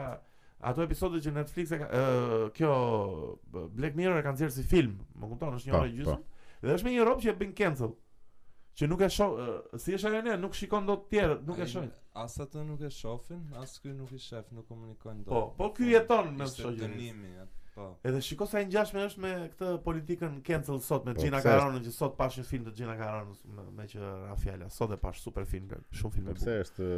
Speaker 2: ato episode që Netflix e ka, ë, kjo ë, Black Mirror e kanë nxjerrë si film, më kupton, është një
Speaker 1: Po,
Speaker 2: orë e gjysmë. Dhe është me një rob që e bën cancel. Që nuk e shoh, ë, si është ajo ne, nuk shikon dot tjerët, nuk e
Speaker 3: Ai-
Speaker 2: shohin.
Speaker 3: As ato nuk e shohin, as ky nuk i shef, nuk komunikojnë dot.
Speaker 2: Po, po ky jeton me
Speaker 3: Ishte
Speaker 2: shoqërinë.
Speaker 3: dënimi, ja, po.
Speaker 2: Edhe shiko sa e ngjashme është me këtë politikën cancel sot me
Speaker 1: Po,
Speaker 2: Gina
Speaker 1: pse është?
Speaker 2: Caronën që sot pash një film të Gina Caronës me, me që ra fjala, sot e pash super film, shumë
Speaker 1: Po
Speaker 2: filme
Speaker 1: pse është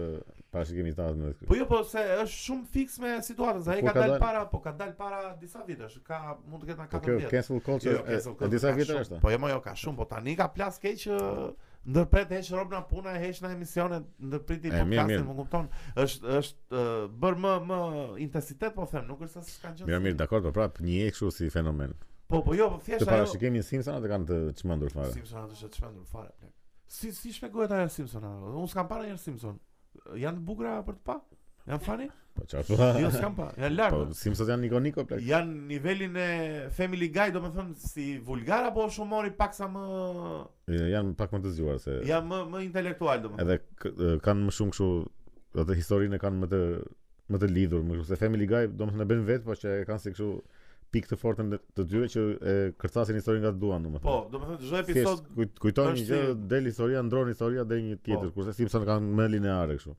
Speaker 1: parashikimi i tatme?
Speaker 2: Po jo, po se është shumë fiks me situatën, sa ai
Speaker 1: Po,
Speaker 2: ka
Speaker 1: ka
Speaker 2: dalë
Speaker 1: dalë-
Speaker 2: para, po ka dalë para disa vitesh, ka mund të ketë na
Speaker 1: Po kjo
Speaker 2: 14.
Speaker 1: cancel
Speaker 2: Jo,
Speaker 1: culture e- e disa vite është.
Speaker 2: Po jo, mo, jo, ka shumë, po tani ka plas keq që ndërpret heq rob na puna, heq na emisione, ndërpriti
Speaker 1: E, mirë,
Speaker 2: podcastin,
Speaker 1: mirë.
Speaker 2: më kupton? Është është ë, bër më më intensitet, po them, nuk është se s'ka gjë.
Speaker 1: Mirë, mirë, dakor, po prap një e kështu si fenomen.
Speaker 2: Po po jo, po
Speaker 1: Të
Speaker 2: thjesht ajo.
Speaker 1: parashikimin Simpsonat e kanë të çmendur fare.
Speaker 2: Simpson atë është çmendur fare plak. Si si shpjegohet ajo Simpson? ajo? Unë s'kam parë një Simpson. Janë të bukura për të pa? Janë fani?
Speaker 1: Po
Speaker 2: Jo,
Speaker 1: çfarë?
Speaker 2: s'kam pa. Janë lartë.
Speaker 1: [laughs] Po Simpsonat janë ikoniko plak.
Speaker 2: Janë nivelin e Family Guy, do me thëmë, si vulgar apo është humori pak sa më...
Speaker 1: E, Janë pak më të zgjuar se
Speaker 2: Ja më, më intelektual, do me thëmë.
Speaker 1: edhe k- e, kanë më shumë kështu atë historinë e kanë më të më të lidhur, më kështu se Family Guy domethënë e bën vetë, po që e kanë si kështu pikë të fortën të- të dyre që e kërcasin historinë nga të duan domethënë.
Speaker 2: Po, do me thëmë, çdo
Speaker 1: Thjesht
Speaker 2: episod...
Speaker 1: kuj- kujton një
Speaker 2: është
Speaker 1: gjë,
Speaker 2: si-
Speaker 1: del historia, ndron historia deri një tjetër,
Speaker 2: Po.
Speaker 1: kurse Simpson kanë më lineare kështu.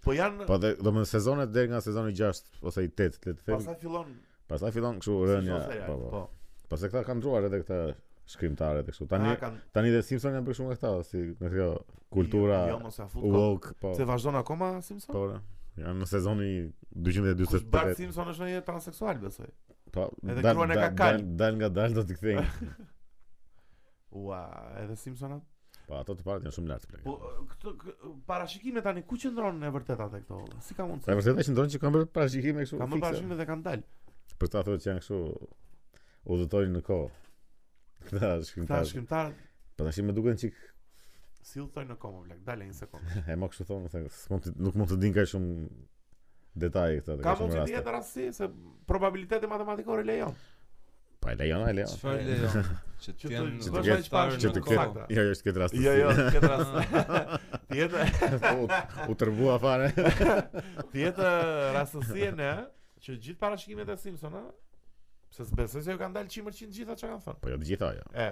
Speaker 2: Po janë...
Speaker 1: Po dhe domethënë sezonet deri nga sezoni 6 ose i 8, le të them,
Speaker 2: Pastaj fillon...
Speaker 1: pastaj fillon kështu
Speaker 2: si
Speaker 1: rënja.
Speaker 2: show serial,
Speaker 1: Po, po.
Speaker 2: po.
Speaker 1: Pastaj këta kanë ndruar edhe këta shkrimtarët e kështu. Tani
Speaker 2: Ah, kanë-
Speaker 1: tani dhe Simpson janë për shumë nga këta, si nga kjo kultura
Speaker 2: Jo, jo, mos ja fut kohë.
Speaker 1: woke, po.
Speaker 2: Se vazhdon akoma Simpson?
Speaker 1: Po. ora. Janë në sezoni Po,
Speaker 2: Kush Bart
Speaker 1: 248.
Speaker 2: Simpson është një transseksual, besoj.
Speaker 1: Po.
Speaker 2: edhe
Speaker 1: dal-
Speaker 2: kruan e
Speaker 1: dal-
Speaker 2: ka kal.
Speaker 1: dal- Dal nga dal do t'i kthejnë.
Speaker 2: [laughs] Ua, edhe Simpsonat?
Speaker 1: Po ato të parat janë shumë lart plak.
Speaker 2: Po, këtë, kë, parashikime tani, ku qëndron në vërtet atë këto? olla? Si ka
Speaker 1: Sa
Speaker 2: mundësi?
Speaker 1: Pra, vërtet që ndonë që kanë bërë parashikime kështu.
Speaker 2: Ka më
Speaker 1: fikse.
Speaker 2: parashikime dhe kanë dalë.
Speaker 1: Për ta thotë që janë kështu udhëtojnë në kohë. Këta
Speaker 2: Këta
Speaker 1: shkrimtarë.
Speaker 2: shkrimtarët,
Speaker 1: Po tash më duken çik [laughs]
Speaker 2: si u thojnë në komo, blek, dale një sekundë.
Speaker 1: e më kështu thonë se s'mund të- nuk mund të din kaq shumë detaje këta.
Speaker 2: Ka
Speaker 1: kaq shumë
Speaker 2: mund që të
Speaker 1: raste.
Speaker 2: jetë rasti se probabiliteti matematikor e lejon.
Speaker 1: Po e lejon, e lejon.
Speaker 3: Çfarë
Speaker 1: [laughs]
Speaker 3: lejon? Që
Speaker 2: Që
Speaker 3: të jenë
Speaker 1: Që
Speaker 2: të-
Speaker 1: të
Speaker 2: Bësh
Speaker 1: ketë
Speaker 2: aq pak
Speaker 1: që
Speaker 2: në
Speaker 1: të
Speaker 2: kohë.
Speaker 1: ketë. Jo, jo, që të ketë rast.
Speaker 2: Jo, jo, këtë rast. Tjetë,
Speaker 1: [laughs] U tërbua fare.
Speaker 2: tjetë rastësie në që gjithë parashikimet e Simpson, ë, se s'besoj se jo kanë dalë 100% gjitha që kanë thënë.
Speaker 1: Po jo të gjitha jo.
Speaker 2: E.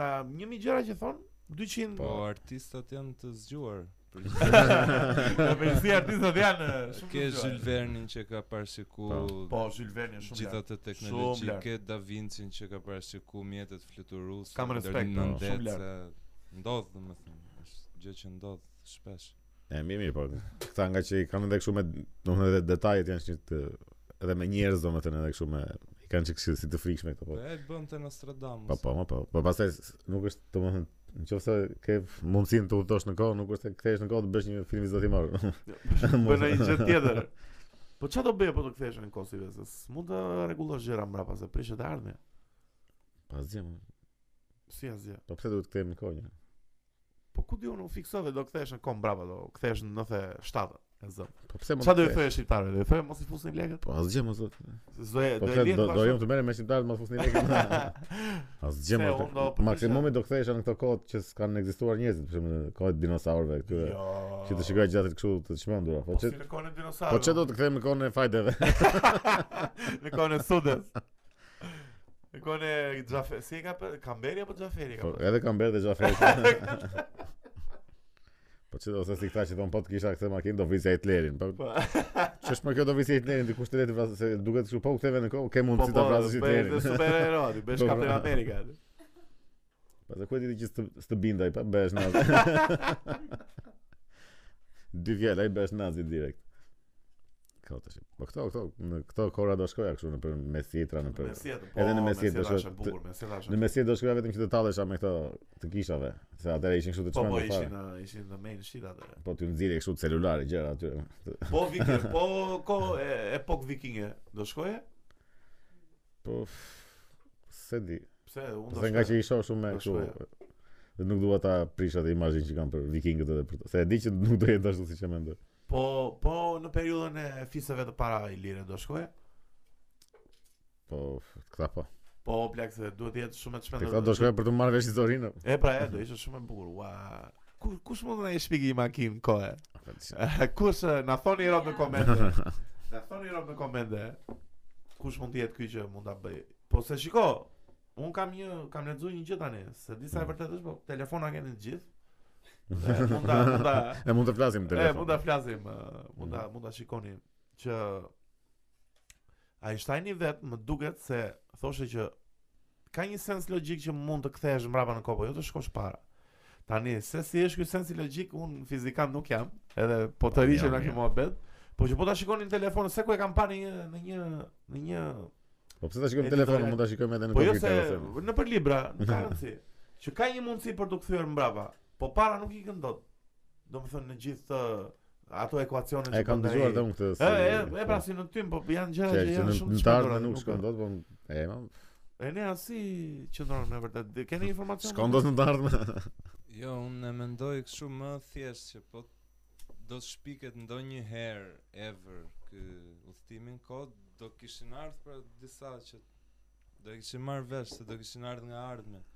Speaker 2: Na 1000 gjëra që thon, 200
Speaker 3: Po
Speaker 1: Po.
Speaker 2: [laughs]
Speaker 3: artistat janë të zgjuar.
Speaker 2: Nga përgjithësi artistët janë eh, shumë
Speaker 3: Ke
Speaker 2: të
Speaker 3: Jules
Speaker 2: zgjuar.
Speaker 3: Verne-in që ka parashiku
Speaker 2: Po, Jules Verne është shumë.
Speaker 3: gjithë
Speaker 2: lart.
Speaker 3: atë
Speaker 2: Shumë
Speaker 3: teknologji,
Speaker 2: lart.
Speaker 3: ke Da Vinci-n që ka parashiku mjetet fluturuese,
Speaker 2: Kam respekt,
Speaker 3: modernën
Speaker 1: po,
Speaker 2: shumë
Speaker 3: ndet,
Speaker 2: lart.
Speaker 3: se ndodh domethënë, është gjë që ndodh shpesh.
Speaker 1: E mirë mirë po. Këta nga që i kanë edhe kështu me domethënë edhe detajet janë që të edhe me njerëz domethënë edhe kështu me i kanë çik si të frikshme këto po.
Speaker 3: Po e bën te Nostradamus.
Speaker 1: Po po, ma po. Po pastaj s- nuk është domethënë nëse ke mundësinë të udhëtosh në kohë, nuk është se kthehesh në kohë të bësh një film zotimor.
Speaker 2: Bën ai gjë tjetër. Po çfarë do bëje po të kthehesh në Kosovë? Se s'mund të rregullosh gjëra mbrapa se prishet e ardhmja.
Speaker 1: [laughs] Po asgjë. mo.
Speaker 2: Si asgjë.
Speaker 1: Po pse duhet të kthehemi në kohë? një?
Speaker 2: Po ku diun u fiksove do kthehesh në kom mbrapa do kthehesh në 97. E zëm.
Speaker 1: Po pse mos?
Speaker 2: Çfarë do i
Speaker 1: kthehesh?
Speaker 2: thoje shqiptarëve? Do i thoje mos i fusni lekët?
Speaker 1: Po asgjë mos.
Speaker 2: Se Do e
Speaker 1: Po
Speaker 2: do
Speaker 1: pse
Speaker 2: e lidh
Speaker 1: do do jam
Speaker 2: bashkë.
Speaker 1: të merrem me shqiptarët mos fusni
Speaker 2: [laughs]
Speaker 1: lekë. Asgjë
Speaker 2: Se
Speaker 1: mos.
Speaker 2: unë do përpiqem.
Speaker 1: Maksimumi do kthehesha në këto kohë që s'kan ekzistuar njerëzit, për shembull, kohët e dinosaurëve këtyre.
Speaker 2: [laughs] Jo.
Speaker 1: Që të shikoj gjatë kështu të çmendura. Po
Speaker 2: Po
Speaker 1: çe
Speaker 2: si në kohën e dinosaurëve.
Speaker 1: po çe
Speaker 2: [laughs]
Speaker 1: do të kthehemi në kohën e fajdeve.
Speaker 2: Në kohën e Sudes. Në kohën e Xhafer, si e ka për Kamberi apo Xhaferi ka?
Speaker 1: Po
Speaker 2: për?
Speaker 1: edhe kanë bërë dhe
Speaker 2: [laughs]
Speaker 1: Xhaferi. [laughs] Po çe do se si këta që thon po të kisha këtë makinë do vrisja Hitlerin. Po
Speaker 2: Po.
Speaker 1: ç'është më kjo do vrisja Hitlerin dikush të letë vrasë se duket kështu po u ktheve në kohë ke
Speaker 2: Po
Speaker 1: mundësi
Speaker 2: po,
Speaker 1: ta vrasësh
Speaker 2: bëhet
Speaker 1: Hitlerin.
Speaker 2: superhero, ti bësh
Speaker 1: Po, po.
Speaker 2: Captain America.
Speaker 1: [laughs] Po se ku e di ti që s'të- s'të bindaj pa bësh nazi.
Speaker 2: [laughs]
Speaker 1: Dy vjela i bësh nazi direkt. Këto tash. Po këto këto në këto kohra do shkoja kështu në për mesjetra në për
Speaker 2: Mesjetën, po.
Speaker 1: Edhe në mesjetë
Speaker 2: mesjetën
Speaker 1: është
Speaker 2: është
Speaker 1: të-
Speaker 2: e bukur, mesjetën është.
Speaker 1: Në mesjet do shkoja vetëm që të tallesha me këto të kishave, se atëre ishin kështu të
Speaker 2: Po po
Speaker 1: çmendur
Speaker 2: ishin
Speaker 1: fare.
Speaker 2: uh, ishin në main shit atë.
Speaker 1: Po ty nxjerrje kështu celulare gjëra aty.
Speaker 2: Po viking, po ko e, epok vikinge do shkoje?
Speaker 1: Po se di.
Speaker 2: Pse unë do.
Speaker 1: Pse nga që
Speaker 2: shkoja.
Speaker 1: i shoh shumë me
Speaker 2: Do
Speaker 1: kështu
Speaker 2: shkoja.
Speaker 1: dhe nuk dua ta prish atë imazhin që kanë për vikingët edhe për se e di që nuk do jetë ashtu siç e mendoj.
Speaker 2: Po po në periudhën e fisëve të para ilire do shkoje?
Speaker 1: Po këta po.
Speaker 2: Po plak se duhet të jetë shumë e
Speaker 1: Te
Speaker 2: çmendur.
Speaker 1: këta do shkoja për të marrë vesh historinë.
Speaker 2: [laughs] E pra e do ishte shumë e bukur. Ua. Ku kush mund të na i shpjegoj makin kohë? kush eh, na thoni rob në komente?
Speaker 1: [laughs]
Speaker 2: Na thoni rob në komente. Kush mund të jetë ky që mund ta bëj? Po se shiko, un kam një kam lexuar një gjë tani, se disa e vërtetë është, po telefona keni të gjithë. Dhe Mund ta mund ta
Speaker 1: E mund të flasim në
Speaker 2: e
Speaker 1: telefon. Mhm.
Speaker 2: mund ta flasim, eh, mund ta mund ta shikoni që Einsteini vet më duket se thoshte që ka një sens logjik që mund të kthehesh mbrapa në kohë, po jo të shkosh para. Tani, se si është ky sensi logjik, unë fizikan nuk jam, edhe po të
Speaker 1: Po,
Speaker 2: rishem
Speaker 1: jam,
Speaker 2: nga ky
Speaker 1: jam.
Speaker 2: muhabet, po që po ta shikoni në telefon, se ku e kam parë në një në një në një,
Speaker 1: Po pse ta shikojmë në
Speaker 2: Editorial.
Speaker 1: telefon, mund ta shikojmë edhe në
Speaker 2: po jo se
Speaker 1: kompjuter ose.
Speaker 2: në për
Speaker 1: [laughs]
Speaker 2: libra, nuk ka rëndsi. Që ka një mundësi për të kthyer mbrapa, po para nuk i këndot. Domethënë në gjithë të, ato ekuacione
Speaker 1: E
Speaker 2: që
Speaker 1: kam
Speaker 2: bën ai.
Speaker 1: dëgjuar dhe unë këtë.
Speaker 2: jo E,
Speaker 1: se-
Speaker 2: e, e pra si në tym, po janë
Speaker 1: Që-
Speaker 2: gjëra që
Speaker 1: që
Speaker 2: janë
Speaker 1: në-
Speaker 2: shumë
Speaker 1: në
Speaker 2: të
Speaker 1: tarë
Speaker 2: shpendura.
Speaker 1: nuk shkon dot, po e ma,
Speaker 2: E ne si qëndron në vërtet? Dhe Keni informacion?
Speaker 1: shkon dot në tarë.
Speaker 3: Jo, unë e mendoj kështu më thjesht që po do të shpiket ndonjë herë ever ky udhëtimin kod do kishin ardhur për disa që do e kishin marrë vesh se do kishin ardhur nga ardhme.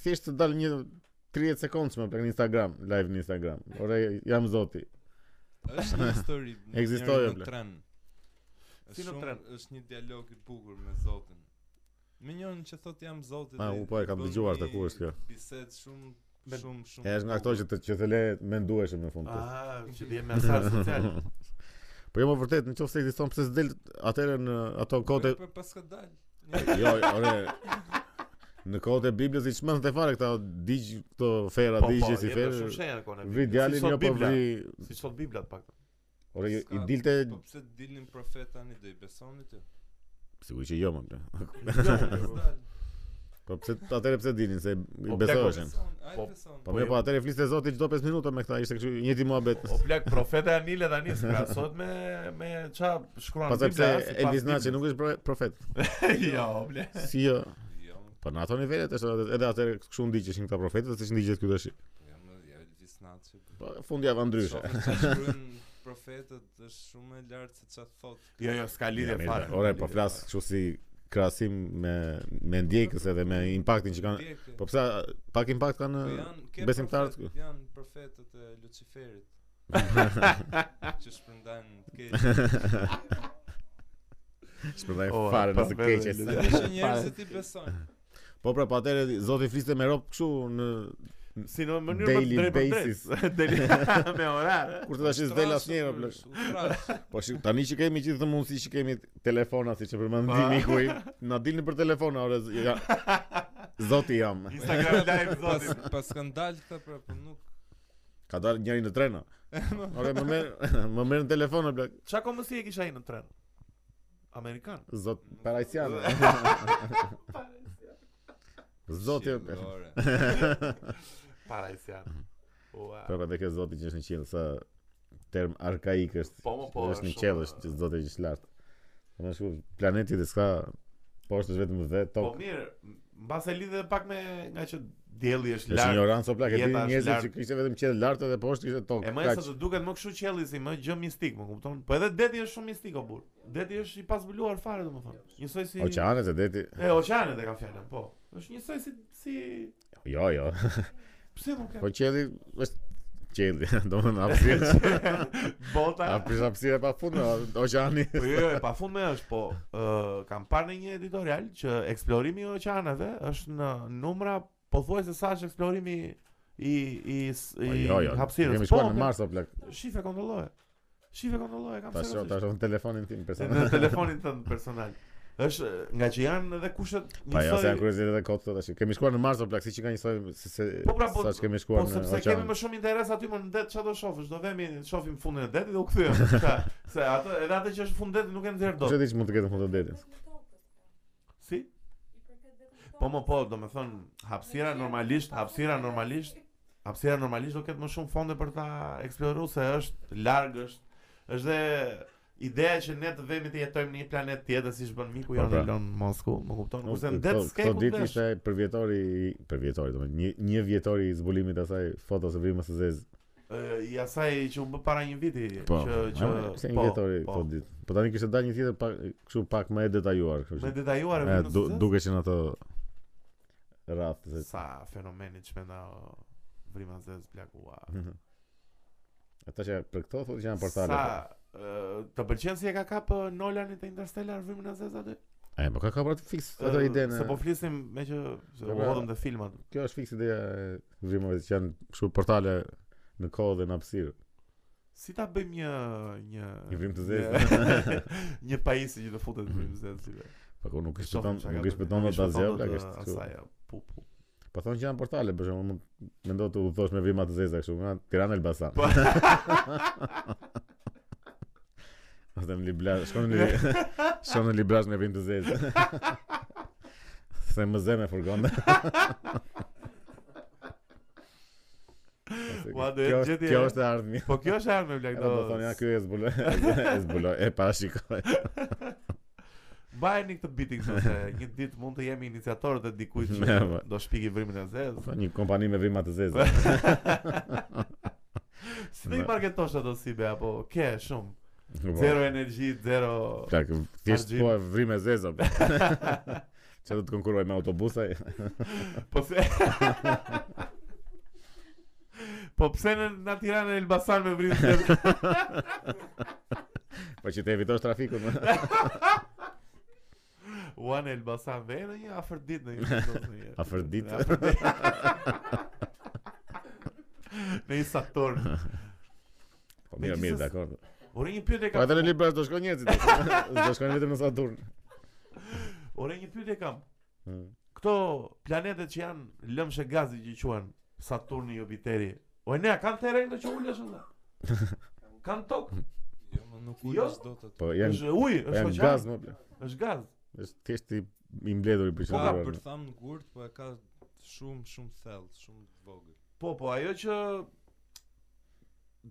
Speaker 1: thjesht të dal një 30 sekondësh më plak në Instagram, live në Instagram. Ore jam Zoti.
Speaker 3: Është një histori.
Speaker 1: [laughs]
Speaker 3: një
Speaker 1: Ekzistoi,
Speaker 3: njeri
Speaker 1: ble.
Speaker 3: në tren.
Speaker 2: Si në
Speaker 3: Shumë-
Speaker 2: tren?
Speaker 3: Është një dialog i bukur me Zotin. Me njërin që thot jam Zoti.
Speaker 1: Ma,
Speaker 3: dhe
Speaker 1: u po e kam
Speaker 3: bën
Speaker 1: dëgjuar,
Speaker 3: një
Speaker 1: ta ku është kjo?
Speaker 3: Bisedë shumë
Speaker 2: Me-
Speaker 3: shumë shumë.
Speaker 1: E është nga ato
Speaker 3: bukur.
Speaker 1: që të që të le mendueshëm në fund. të-
Speaker 2: Ah, që dhe me
Speaker 1: [laughs]
Speaker 2: asar social.
Speaker 1: Po jo më vërtet, nëse ekziston pse s'del atëherë në ato kohë
Speaker 3: Po pas ka dalë.
Speaker 1: [laughs] Jo, ore. Në kohët e Biblës i çmend të fare këta digj këto fera,
Speaker 2: Po, po,
Speaker 1: digje Pra si
Speaker 2: jepë shumë
Speaker 1: ferë.
Speaker 2: shenja kone.
Speaker 1: Vri djalin jo po vri.
Speaker 2: Si sot Bibla të pak.
Speaker 1: Ore jo, i
Speaker 3: S'ka-
Speaker 1: dilte
Speaker 3: Po pse dilnin profet tani do i besoni
Speaker 1: [laughs]
Speaker 3: ti?
Speaker 1: sigurisht që jo më. bre. [laughs]
Speaker 2: [laughs]
Speaker 3: Dalë.
Speaker 1: Po pse atëre pse dinin se i
Speaker 2: Po,
Speaker 1: besoheshin.
Speaker 3: Beson, ai
Speaker 2: Po-
Speaker 3: beson.
Speaker 1: Po
Speaker 2: po,
Speaker 1: më
Speaker 2: jo. Po,
Speaker 1: po atëre fliste Zoti çdo 5 minuta me këta, ishte kështu i njëjti muhabet.
Speaker 2: O plak profeta Anile tani sot me me ça shkruan
Speaker 1: Pastaj pse
Speaker 2: Bibla. si pas
Speaker 1: Elvis Naçi
Speaker 2: Biblës.
Speaker 1: nuk është pro- profet.
Speaker 2: [laughs] Jo, plak.
Speaker 1: Si jo.
Speaker 3: Jo,
Speaker 1: Po në ato nivelet është edhe atëre kështu ndiqeshin këta profetët, siç ndiqet ky tash.
Speaker 3: po jam ja Elvis snat që
Speaker 1: Po fundjava ndryshe.
Speaker 3: Shohim çfarë shkruajn [laughs] profetët është shumë e lartë se çfarë thotë.
Speaker 2: Jo, jo, s'ka
Speaker 1: Ja,
Speaker 2: lidhje
Speaker 1: mirë,
Speaker 2: fare.
Speaker 1: Ore, po flas kështu si krahasim me me ndjekës edhe me impaktin që kanë.
Speaker 3: Ndjekë.
Speaker 1: Po pse pak impakt kanë?
Speaker 3: Po janë ke
Speaker 1: besimtarët
Speaker 3: profet- janë profetët e Luciferit që shpërndajnë të
Speaker 1: [laughs]
Speaker 3: keq.
Speaker 1: [laughs] Shpërndaj
Speaker 2: Ore,
Speaker 1: fare
Speaker 2: po,
Speaker 1: nëse
Speaker 2: vetë,
Speaker 1: keqes.
Speaker 2: vetë.
Speaker 3: Është njerëz që ti besojnë.
Speaker 1: Po pra, po atëre Zoti fliste me rob kështu në
Speaker 2: Si në mënyrë më
Speaker 1: Daily
Speaker 2: drejt për drejt. [laughs] Daily me orar. eh.
Speaker 1: kur të tash s'del asnjëra
Speaker 3: Utrash,
Speaker 1: plot.
Speaker 3: utrash.
Speaker 1: Po shik, tani që kemi gjithë të mundësi që kemi telefona siç e përmendi
Speaker 2: Pa.
Speaker 1: miku im, na dilni për telefona, ore, z- ja. Zoti jam.
Speaker 2: [laughs] Instagram live
Speaker 3: Pas
Speaker 2: zotin.
Speaker 3: pas kanë dalë këta pra, po nuk
Speaker 1: Ka dalë njëri në trena. Ore, më merr [laughs] më merr në telefon bla.
Speaker 2: Qa komësi e kisha ai në tren? Amerikan.
Speaker 1: Zot parajsian. [laughs] Zoti.
Speaker 3: Qillore.
Speaker 2: Para i sjat. Ua.
Speaker 1: Mhm. Po pra, dhe ke zoti që është në qiell, sa term arkaik është.
Speaker 2: Po, mo, po,
Speaker 1: është në
Speaker 2: shumë-
Speaker 1: qiell, është që zoti është lart. Më shumë planeti dhe s'ka poshtë është vetëm dhe
Speaker 2: Po
Speaker 1: tokë.
Speaker 2: mirë, mbas e lidhe pak me nga që dielli është
Speaker 1: Është
Speaker 2: larg.
Speaker 1: ignorancë o plak, e
Speaker 2: jeta
Speaker 1: dini
Speaker 2: është
Speaker 1: njerëzit
Speaker 2: lartë.
Speaker 1: që kishte vetëm qiell lart edhe poshtë kishte tokë.
Speaker 2: E më
Speaker 1: kaq.
Speaker 2: sa të duket më kështu qelli si më gjë mistik, më kupton? Po edhe deti është shumë mistik o burr. Deti është i pazbuluar fare domethënë. Njësoj si
Speaker 1: Oqeanet e deti.
Speaker 2: E oqeanet e ka fjalën, po. Është njësoj si si
Speaker 1: Jo,
Speaker 2: [laughs]
Speaker 1: jo.
Speaker 2: pse nuk
Speaker 1: [laughs]
Speaker 2: ka.
Speaker 1: Po qielli është qielli, [laughs] domethënë
Speaker 2: [laughs]
Speaker 1: hapësirë.
Speaker 2: Bota.
Speaker 1: A prish hapësirë pa fund, oqeani.
Speaker 2: Po jo, e pafundme është, po ë kam parë në një editorial që eksplorimi i oqeaneve është në numra pothuajse sa është eksplorimi i i s-
Speaker 1: Po,
Speaker 2: i
Speaker 1: Jo, jo.
Speaker 2: hapësirës.
Speaker 1: Kemi shkuar
Speaker 2: po,
Speaker 1: në Mars o plak.
Speaker 2: Shife kontrolloje. Shife kontrolloje kam
Speaker 1: Tash
Speaker 2: seriozisht.
Speaker 1: tash në telefonin
Speaker 2: [laughs]
Speaker 1: tim
Speaker 2: Në
Speaker 1: [laughs] personal.
Speaker 2: telefonin tënd personal. Është nga që janë edhe kushtet
Speaker 1: Pa ja, Po, jo, se janë
Speaker 2: njësoj.
Speaker 1: kuriozitete kot sot tash. Kemi shkuar në Mars o plak, siç i ka njësoj se se
Speaker 2: Po, pra, po,
Speaker 1: sa që kemi
Speaker 2: Po
Speaker 1: shkuar në
Speaker 2: sepse kemi
Speaker 1: oqean.
Speaker 2: më shumë interes aty më në det çfarë do shohësh, do vemi shohim fundin e detit dhe u
Speaker 1: [laughs]
Speaker 2: kthyem. Sa- Se ato edhe atë që është fund detit nuk e nxjerr
Speaker 1: Kush e
Speaker 2: dot.
Speaker 1: di që mund të ketë mund të detin?
Speaker 2: Si? Po më po, do me thënë, hapsira normalisht, hapsira normalisht, hapsira normalisht do ketë më shumë fonde për ta eksploru se është largë, është, është dhe ideja që ne të vemi të jetojmë në një planet tjetër siç bën miku
Speaker 1: Po,
Speaker 2: jonë
Speaker 1: pra.
Speaker 2: Elon Musk, më kupton? Kurse në det
Speaker 1: Po, Këto-
Speaker 2: s'ke
Speaker 1: këto
Speaker 2: ku
Speaker 1: ditë
Speaker 2: të
Speaker 1: ishte përvjetori, i- përvjetori, domethënë një një vjetori i zbulimit të asaj fotos së vrimës së zezë.
Speaker 2: i asaj që u bë para një viti, që që
Speaker 1: Po, se një vjetori po, ditë. Po tani kishte dalë një tjetër pak kështu pak më e detajuar, kështu.
Speaker 2: me
Speaker 1: që-
Speaker 2: detajuar e
Speaker 1: E,
Speaker 2: vënë
Speaker 1: du,
Speaker 2: në
Speaker 1: duke që në ato rrath se
Speaker 2: sa fenomeni që menda o, vrima zez blakua.
Speaker 1: ata që për këto thotë që janë portale. po.
Speaker 2: Sa ë, të pëlqen si e ka kap ë, Nolani te Interstellar vrimën e zez aty?
Speaker 1: E, po ka ka pra fiks
Speaker 2: Ë,
Speaker 1: ato idenë.
Speaker 2: Se po flisim me që se u
Speaker 1: Po, pra-
Speaker 2: hodhëm te filmat.
Speaker 1: Kjo është fiks ideja e vrimorëve që janë kështu portale në kohë dhe në hapësirë.
Speaker 2: Si ta bëjmë një një
Speaker 1: Një vrim të zezë.
Speaker 2: një- [laughs] Një pajisje që të futet vrim të zezë. si be.
Speaker 1: Po ku nuk i
Speaker 2: Shohim
Speaker 1: shpëton,
Speaker 2: çka ka
Speaker 1: nuk i
Speaker 2: bërë.
Speaker 1: shpëton
Speaker 2: Nuk i
Speaker 1: dot asgjë,
Speaker 2: shpëton
Speaker 1: plak
Speaker 2: dot,
Speaker 1: është.
Speaker 2: ë,
Speaker 1: kështu.
Speaker 2: Asaj ë, uh, pu pu.
Speaker 1: Po thonë që janë portale, për shembull, mund mendo të udhëtosh me vrimat të zeza kështu nga Tirana Elbasan.
Speaker 2: Po.
Speaker 1: [laughs] Ose në Librazh, shkon në
Speaker 2: [laughs]
Speaker 1: shkon në Librazh me vrim të zezë. Se më zë me
Speaker 2: [laughs]
Speaker 1: furgon.
Speaker 2: Ua, do jetë
Speaker 1: Kjo është-
Speaker 2: gjetje-
Speaker 1: kjo është e
Speaker 2: [laughs]
Speaker 1: ardhmja.
Speaker 2: Po kjo është armë blaq
Speaker 1: Edhe
Speaker 2: do.
Speaker 1: do thonë ja ky e zbuloi, [laughs] e zbuloi, e
Speaker 2: [laughs]
Speaker 1: parashikoi.
Speaker 2: Bajeni këtë biting se një ditë mund të jemi iniciatorët e
Speaker 1: [laughs]
Speaker 2: dikujt
Speaker 1: Ne,
Speaker 2: që
Speaker 1: po.
Speaker 2: do shpiki vrimin e
Speaker 1: Po,
Speaker 2: zezë.
Speaker 1: Një kompani me vrimat të zeza.
Speaker 2: [laughs] Si do i
Speaker 1: Ne.
Speaker 2: marketosh ato si be apo ke shumë
Speaker 1: Po,
Speaker 2: zero energji, zero
Speaker 1: Plak, thjesht
Speaker 2: Argjim.
Speaker 1: po e vrim e zeza. po. [laughs] Që do të konkuroj me autobusa
Speaker 2: Po pse? po pse në, në Tiranë e Elbasan me vrinë zezë?
Speaker 1: [laughs] Po që të evitosh trafikun. po.
Speaker 2: [laughs] Ua në Elbasan ve në një afër ditë në një
Speaker 1: Afër ditë.
Speaker 2: Afër ditë. [laughs] Në një Saturn.
Speaker 1: Po mirë, mirë,
Speaker 2: Megjithsesi-
Speaker 1: dakor.
Speaker 2: Ore një pyetje
Speaker 1: Po atë
Speaker 2: kam.
Speaker 1: në libra do shkon njerëzit.
Speaker 2: [laughs]
Speaker 1: Do shkojnë vetëm në Saturn.
Speaker 2: Ore një pyetje kam.
Speaker 1: Mm.
Speaker 2: Këto planetet që janë lëmshë gazi që quhen Saturni, Jupiteri. O e nea, kanë terren këto që ulesh atë?
Speaker 1: [laughs]
Speaker 2: Kanë tokë?
Speaker 3: Jo, më nuk
Speaker 2: Jo?
Speaker 3: ulesh dot atë.
Speaker 1: Po janë
Speaker 2: Është ujë,
Speaker 1: po
Speaker 2: është
Speaker 1: janë
Speaker 2: oqean,
Speaker 1: gaz më. plak.
Speaker 2: Është gaz.
Speaker 1: Është thjesht i i mbledhur i
Speaker 3: Ka
Speaker 1: përqendruar.
Speaker 3: për tham në gurt, po e ka shumë shumë thellë, shumë të vogël.
Speaker 2: Po, po, ajo që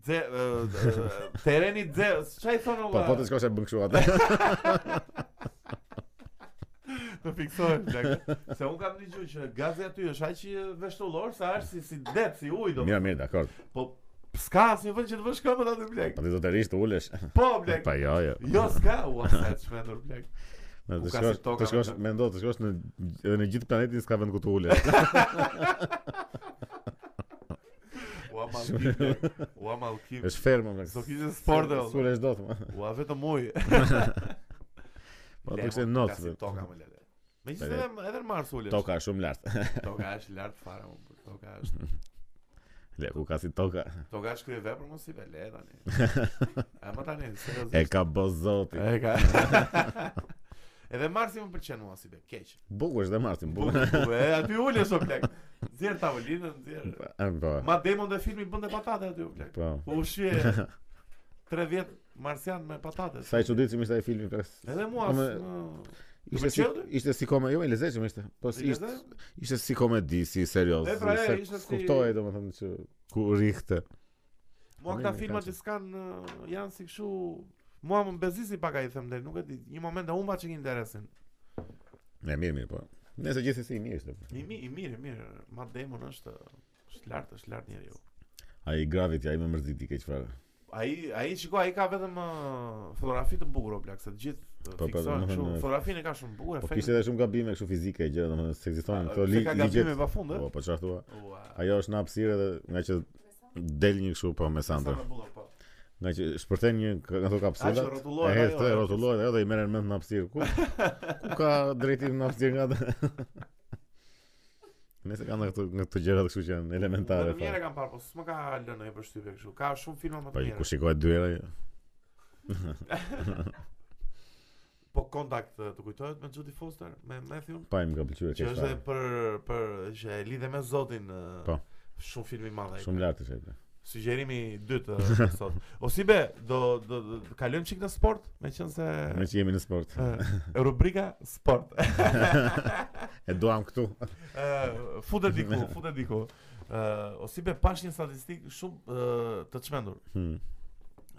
Speaker 2: Dze, ë, ë, tereni dze, çfarë i thonë
Speaker 1: Po
Speaker 2: [laughs] olla?
Speaker 1: po të shkosh e bën kështu atë.
Speaker 2: të fiksohem plak. Se un kam dëgjuar që gazi aty është aq i veshtullor sa është si si det, si ujë do.
Speaker 1: [laughs] Mirë, mirë, dakor.
Speaker 2: Po s'ka asnjë vend që të vësh këmbën aty plak.
Speaker 1: Po ti do të rish të ulesh.
Speaker 2: Po
Speaker 1: [laughs]
Speaker 2: plak.
Speaker 1: Pa jo, jo.
Speaker 2: Jo s'ka, ua sa të shmendur plak.
Speaker 1: Na,
Speaker 2: ku
Speaker 1: Të
Speaker 2: ka
Speaker 1: shkosh,
Speaker 2: si toka,
Speaker 1: të shkosh,
Speaker 2: më thënë.
Speaker 1: mendo, të shkosh në edhe në gjithë planetin s'ka vend ku të
Speaker 2: [laughs]
Speaker 1: ulesh. [laughs]
Speaker 2: Ua mallkim. plak. Ua mallkim.
Speaker 1: Është ferm më
Speaker 2: Do
Speaker 1: plak.
Speaker 2: kishte sport dhe ullë.
Speaker 1: Sulesh dot. po. ma.
Speaker 2: Ua vetëm uj.
Speaker 1: [laughs] Po
Speaker 2: Le,
Speaker 1: të kishte
Speaker 2: mo,
Speaker 1: notë.
Speaker 2: Ka si
Speaker 1: dhe-
Speaker 2: toka më lele. Megjithëse
Speaker 1: Lele.
Speaker 2: edhe- edhe në Mars ulesh.
Speaker 1: [laughs] Toka është shumë lart. [laughs]
Speaker 2: Toka është lart fare më. bur. Toka është.
Speaker 1: Le, ku ka si toka.
Speaker 2: Toka është krye vepër mos i vele
Speaker 1: [laughs]
Speaker 2: tani. E më tani,
Speaker 1: E
Speaker 2: seriozisht.
Speaker 1: ka bo zoti.
Speaker 2: E ka.
Speaker 1: [laughs]
Speaker 2: Edhe Marsi më pëlqen mua si be, keq.
Speaker 1: Bukur është dhe Martin,
Speaker 2: Bu,
Speaker 1: bukur.
Speaker 2: bu, e aty ulesh o plak. Zjer tavolinën,
Speaker 1: [laughs]
Speaker 2: zjer.
Speaker 1: E, Po.
Speaker 2: Ma demon dhe filmi bënte patate aty o plak.
Speaker 1: Po.
Speaker 2: Po ushqye
Speaker 1: [laughs]
Speaker 2: 30 marsian me patate.
Speaker 1: Sa i Po çuditshëm ishte ai filmi pres.
Speaker 2: Edhe mua.
Speaker 1: Ama-
Speaker 2: s- m-
Speaker 1: Ishte si,
Speaker 2: pëlqeu?
Speaker 1: ishte si komedi, jo e lezetshëm ishte. Po si ishte,
Speaker 2: Ishte?
Speaker 1: ishte si komedi, si serioz.
Speaker 2: E, pra, e,
Speaker 1: se
Speaker 2: ishte si-
Speaker 1: Kuptoj domethënë që ku rihte.
Speaker 2: Mua
Speaker 1: Po,
Speaker 2: këta
Speaker 1: mirë,
Speaker 2: filma
Speaker 1: kanë
Speaker 2: që s'kan ë, janë si kështu Mua më bezisi pak ai them deri, nuk e di. Një moment e humba çik interesin.
Speaker 1: Ne mirë, mirë po. Nëse gjithsesi i mirë ishte. po.
Speaker 2: I mi, i mirë, i mirë. Ma demon është është lart, është lart njeriu.
Speaker 1: Ai Gravity, ai më mërziti keq fare. Po,
Speaker 2: Ai ai shiko ai ka vetëm ë, fotografi të bukur o plak, se të gjithë
Speaker 1: po,
Speaker 2: ë, fiksohen kështu.
Speaker 1: domethënë,
Speaker 2: Fotografinë e ka shumë bukur,
Speaker 1: Po
Speaker 2: efekte.
Speaker 1: kishte edhe shumë gabime kështu fizike e gjëra, domethënë se ekzistojnë këto
Speaker 2: ligjet. Ka
Speaker 1: li- ligjet.
Speaker 2: gabime pafund,
Speaker 1: Po,
Speaker 2: ë?
Speaker 1: po çfarë thua?
Speaker 2: Ua.
Speaker 1: Ajo është në hapësirë dhe nga që del një kështu po me
Speaker 2: Sa
Speaker 1: Sandra.
Speaker 2: më bukur po.
Speaker 1: Nga që shpërthen një k- nga ato kapsula.
Speaker 2: A, që
Speaker 1: e
Speaker 2: rrotullohet ajo,
Speaker 1: hecë,
Speaker 2: e.
Speaker 1: rrotullohet ajo dhe i merren mend në hapësirë. Ku ku ka drejtim në hapësirë nga atë? [laughs] Nëse kanë këto nga këto gjëra kështu që janë elementare.
Speaker 2: Vetëm
Speaker 1: fare.
Speaker 2: njëra kam parë, po s'më ka lënë ndonjë përshtypje kështu. Ka shumë filma më
Speaker 1: Po
Speaker 2: të
Speaker 1: i- ku
Speaker 2: mirë.
Speaker 1: shikohet dy herë. jo.
Speaker 2: Po kontakt ë, të kujtohet me Judy Foster, me Matthew.
Speaker 1: Pa i më ka pëlqyer
Speaker 2: Që
Speaker 1: keq.
Speaker 2: është
Speaker 1: fare.
Speaker 2: dhe për për që e lidhe me Zotin. ë,
Speaker 1: Po.
Speaker 2: Shumë film i madh ai.
Speaker 1: Shumë lart është. ai, bre.
Speaker 2: Sugjerimi i dytë
Speaker 1: [laughs]
Speaker 2: ë, sot. O si be, do do, do do- kalojmë çik në sport, meqense
Speaker 1: Me që jemi në sport.
Speaker 2: ë, rubrika
Speaker 1: [laughs]
Speaker 2: sport.
Speaker 1: E duam këtu.
Speaker 2: Ë, futet diku, futet diku. Ë, o si be pash një statistikë shumë ë, të çmendur.
Speaker 1: Hmm.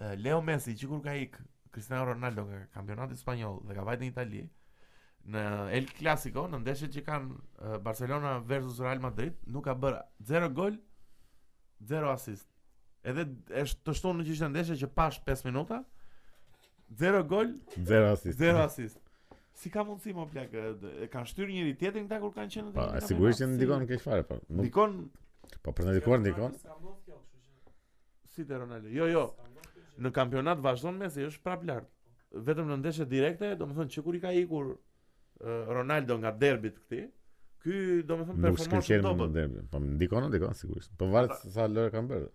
Speaker 2: Ë, Leo Messi që kur ka ik Cristiano Ronaldo nga kampionati spanjoll dhe ka vajtë në Itali në El Clasico, në ndeshjet që kanë ë, Barcelona versus Real Madrid, nuk ka bërë 0 gol, 0 asist. Edhe është të shtunë në që ishte ndeshje që pash 5 minuta, 0 gol,
Speaker 1: Zero asist.
Speaker 2: 0 asist. Si ka mundësi më plak, ë, d- e kanë shtyrë njëri tjetrin këta kur kanë qenë
Speaker 1: Po,
Speaker 2: në
Speaker 1: e sigurisht që ndikon keq fare, po. Nuk,
Speaker 2: Ndikon
Speaker 1: po për të ndikuar ndikon.
Speaker 2: si te Ronaldo. Jo, jo. Në kampionat vazhdon Messi, është prap lart. Vetëm në ndeshje direkte, domethënë që kur i ka ikur ë, Ronaldo nga derbit këtij, ky domethënë
Speaker 1: Nuk
Speaker 2: performancë
Speaker 1: shkëlqen më në
Speaker 2: dobët.
Speaker 1: derbi. Po ndikon, ndikon sigurisht. Po varet se sa lojë kanë bërë.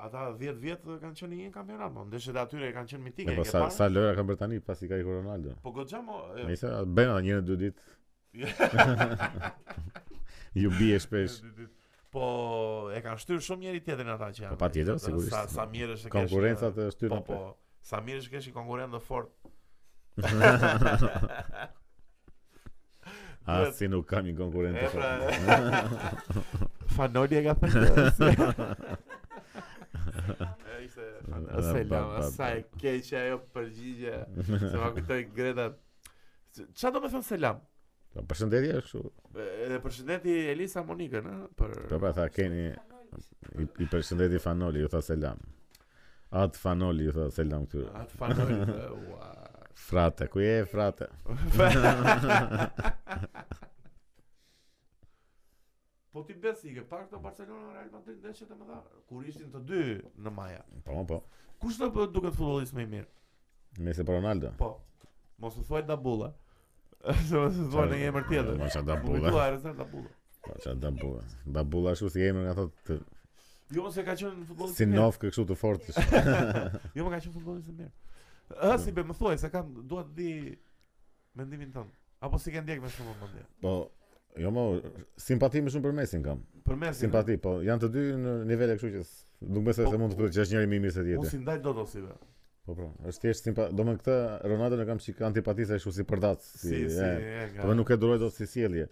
Speaker 2: Ata 10 vjet kanë qenë në një kampionat, mo. Ndeshjet e atyre kanë qenë mitike,
Speaker 1: Ne po
Speaker 2: e ke
Speaker 1: sa sa
Speaker 2: parë?
Speaker 1: lojë kanë bërë tani pasi ka ikur Ronaldo.
Speaker 2: Po goxha mo. e,
Speaker 1: Nëse bëjnë ata një në dy ditë.
Speaker 2: [laughs]
Speaker 1: Ju bie shpesh.
Speaker 2: Po e kanë shtyrë shumë njëri tjetrin ata që janë.
Speaker 1: Po, patjetër,
Speaker 2: Sa-
Speaker 1: sigurisht.
Speaker 2: Sa sa mirë është e kesh,
Speaker 1: Konkurenca
Speaker 2: ë,
Speaker 1: të
Speaker 2: Po
Speaker 1: shtypën.
Speaker 2: po, sa mirë është kesh i konkurrent dhe fort.
Speaker 1: As si nuk kam një po. konkurrent.
Speaker 2: E [laughs]
Speaker 1: të
Speaker 2: pra.
Speaker 1: fortë.
Speaker 2: Fanoli e ka [laughs] thënë. Ai ishte
Speaker 1: Ba, ba,
Speaker 2: selam,
Speaker 1: ba.
Speaker 2: sa e keq ajo përgjigje. Se ma kujtoi Greta. Çfarë do të thon selam?
Speaker 1: Po përshëndetje është kështu.
Speaker 2: Edhe përshëndeti Elisa Monikën, ë, për
Speaker 1: Po pra tha keni i, i përshëndeti Fanoli, ju tha selam. At Fanoli ju tha selam këtyre.
Speaker 2: atë [laughs] fanoli. ë, Ua.
Speaker 1: Frate, ku je frate?
Speaker 2: Po ti besi ke parë këto Barcelona Real Madrid ndeshjet e mëdha kur ishin të dy në Maja.
Speaker 1: Po po.
Speaker 2: Kush do të duket futbollist më i mirë?
Speaker 1: Messi po Ronaldo.
Speaker 2: Po. Mos u thuaj dabulla. [laughs] Se mos u thuaj në një emër tjetër.
Speaker 1: Mos ja
Speaker 2: Më
Speaker 1: dabulla.
Speaker 2: kujtua Erzan dabulla.
Speaker 1: Po ça dabulla. Dabulla është si emër nga ato të
Speaker 2: Jo mos e ka qenë futbollist.
Speaker 1: si
Speaker 2: i mirë.
Speaker 1: novkë kështu të fortë.
Speaker 2: Jo më ka qenë futbollist i mirë. Ë si be më thuaj se kam dua të di mendimin tënd. Apo si ke ndjek me shumë mendje.
Speaker 1: Po jo më simpati më shumë për Messin kam.
Speaker 2: Për Messi.
Speaker 1: Simpati, po janë të dy në nivele kështu që s- nuk besoj se
Speaker 2: Po,
Speaker 1: mund të thuhet që është njëri më i mirë se
Speaker 2: Unë
Speaker 1: tjetri.
Speaker 2: si ndaj dot ose be.
Speaker 1: Po po, është thjesht simpati. Domethënë këtë Ronaldo e kam çik antipati se kështu si përdat, si,
Speaker 2: Si si
Speaker 1: e,
Speaker 2: e ka.
Speaker 1: po nuk e duroj dot si sjellje.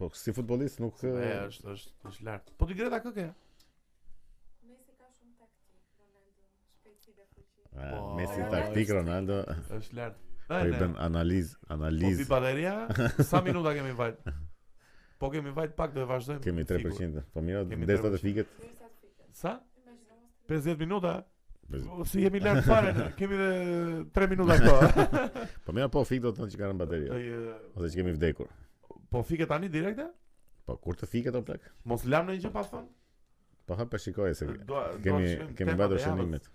Speaker 1: Po si futbollist nuk
Speaker 2: E, është është është lart. Po ti Greta kë ke?
Speaker 4: Messi ka shumë taktik, Ronaldo shpejti dhe fuqi.
Speaker 1: Ah,
Speaker 2: Po.
Speaker 1: Messi taktik Ronaldo.
Speaker 2: Është lart. E,
Speaker 1: Po i
Speaker 2: ne.
Speaker 1: bën analizë,
Speaker 2: Po vi
Speaker 1: analizë.
Speaker 2: baleria, sa minuta kemi vajt? Po kemi vajt pak do e vazhdojmë.
Speaker 1: Kemi
Speaker 2: sigur.
Speaker 1: 3%. Po mira,
Speaker 2: Kemi
Speaker 1: ndesë të
Speaker 2: 3%.
Speaker 1: fiket.
Speaker 4: Derisa të fiket.
Speaker 2: Sa?
Speaker 4: Imagjino mos të
Speaker 2: 50 minuta?
Speaker 1: Pes-
Speaker 2: Po, Si jemi lart
Speaker 1: [laughs]
Speaker 2: fare, ne. kemi dhe 3 minuta këto.
Speaker 1: Po mira, po fik do të thonë që kanë
Speaker 2: Do [laughs]
Speaker 1: bateri.
Speaker 2: i-
Speaker 1: Ose që kemi vdekur.
Speaker 2: Po fike tani direkte?
Speaker 1: Po kur të fiket o plak?
Speaker 2: Mos lam në gjë pa thon.
Speaker 1: Po hap e shikoj se
Speaker 2: Dua- dua
Speaker 1: kemi
Speaker 2: të po, shkojmë
Speaker 1: kemi
Speaker 2: temat
Speaker 1: mbajtur
Speaker 2: e javës.
Speaker 1: shënimet.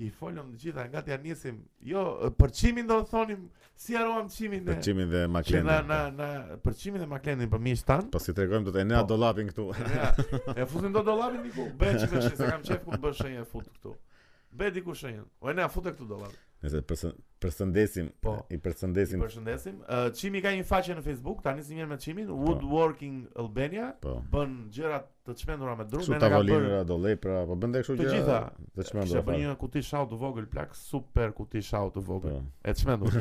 Speaker 2: I folëm të gjitha, nga t'ja nisim. Jo, përçimin do të thonim, si haruam çimin ne.
Speaker 1: Përçimin dhe
Speaker 2: Që na na
Speaker 1: Maklendin.
Speaker 2: na përçimin dhe maklendin për miq tan.
Speaker 1: Po si tregojmë do të ne
Speaker 2: Po.
Speaker 1: do lapin këtu. [laughs]
Speaker 2: Ja, e fusim do dollarin diku. Bëj çfarë vesh, se kam qef ku bësh shenjë e fut këtu. Bëj diku shenjën. O ne fute këtu dollar.
Speaker 1: Nëse përsen- përshëndesim,
Speaker 2: Po.
Speaker 1: i
Speaker 2: Ju
Speaker 1: përshëndesim.
Speaker 2: përshëndesim. Ë, Çimi ka një faqe në Facebook, tani si mirë me Çimin, Woodworking Albania,
Speaker 1: Po.
Speaker 2: bën gjëra të çmendura me dru,
Speaker 1: Kështu
Speaker 2: ne na ka bërë
Speaker 1: tavolinëra do lepra, po bën dhe kështu
Speaker 2: të
Speaker 1: gjëra
Speaker 2: gjitha.
Speaker 1: Të
Speaker 2: Kisha
Speaker 1: çmendura.
Speaker 2: bërë
Speaker 1: fare.
Speaker 2: një kuti shau të vogël plak, super kuti shau të vogël.
Speaker 1: Po.
Speaker 2: E
Speaker 1: [laughs]
Speaker 2: çmendur.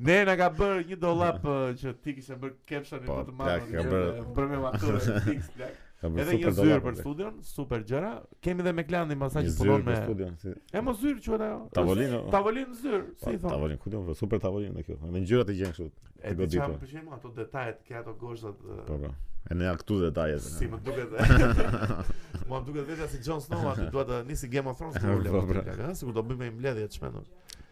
Speaker 2: ne na ka bërë një dollap ë, që ti kishe bërë captionin
Speaker 1: Po,
Speaker 2: më të madh.
Speaker 1: plak, ka bërë-
Speaker 2: bërë
Speaker 1: [laughs]
Speaker 2: me maturë fix plak.
Speaker 1: Ka bërë
Speaker 2: Edhe një
Speaker 1: super
Speaker 2: zyrë
Speaker 1: dollap,
Speaker 2: për
Speaker 1: plak.
Speaker 2: studion, super gjëra. Kemi dhe me Klandin pasaj
Speaker 1: Një
Speaker 2: që
Speaker 1: zyrë
Speaker 2: punon
Speaker 1: për
Speaker 2: me
Speaker 1: studion. si-
Speaker 2: E mos zyrë quhet ajo.
Speaker 1: Tavolinë. o.
Speaker 2: Tavolinë zyrë,
Speaker 1: Po,
Speaker 2: si i thon.
Speaker 1: Tavolinë, ku diun, po, super tavolinë dhe kjo. Edhe ngjyrat i gjen kështu.
Speaker 2: E
Speaker 1: të
Speaker 2: di çam
Speaker 1: goditur.
Speaker 2: pëlqejmë ato detajet, ke ato gozhat. ë,
Speaker 1: Po po. E po. ne [laughs] këtu detajet.
Speaker 2: Si më duket. e- [laughs] Mua më duket vetë si Jon Snow aty dua të nisi Game
Speaker 1: [laughs]
Speaker 2: of Thrones me ulë.
Speaker 1: Po, pra.
Speaker 2: Ëh, sikur do bëjmë një mbledhje të çmendur.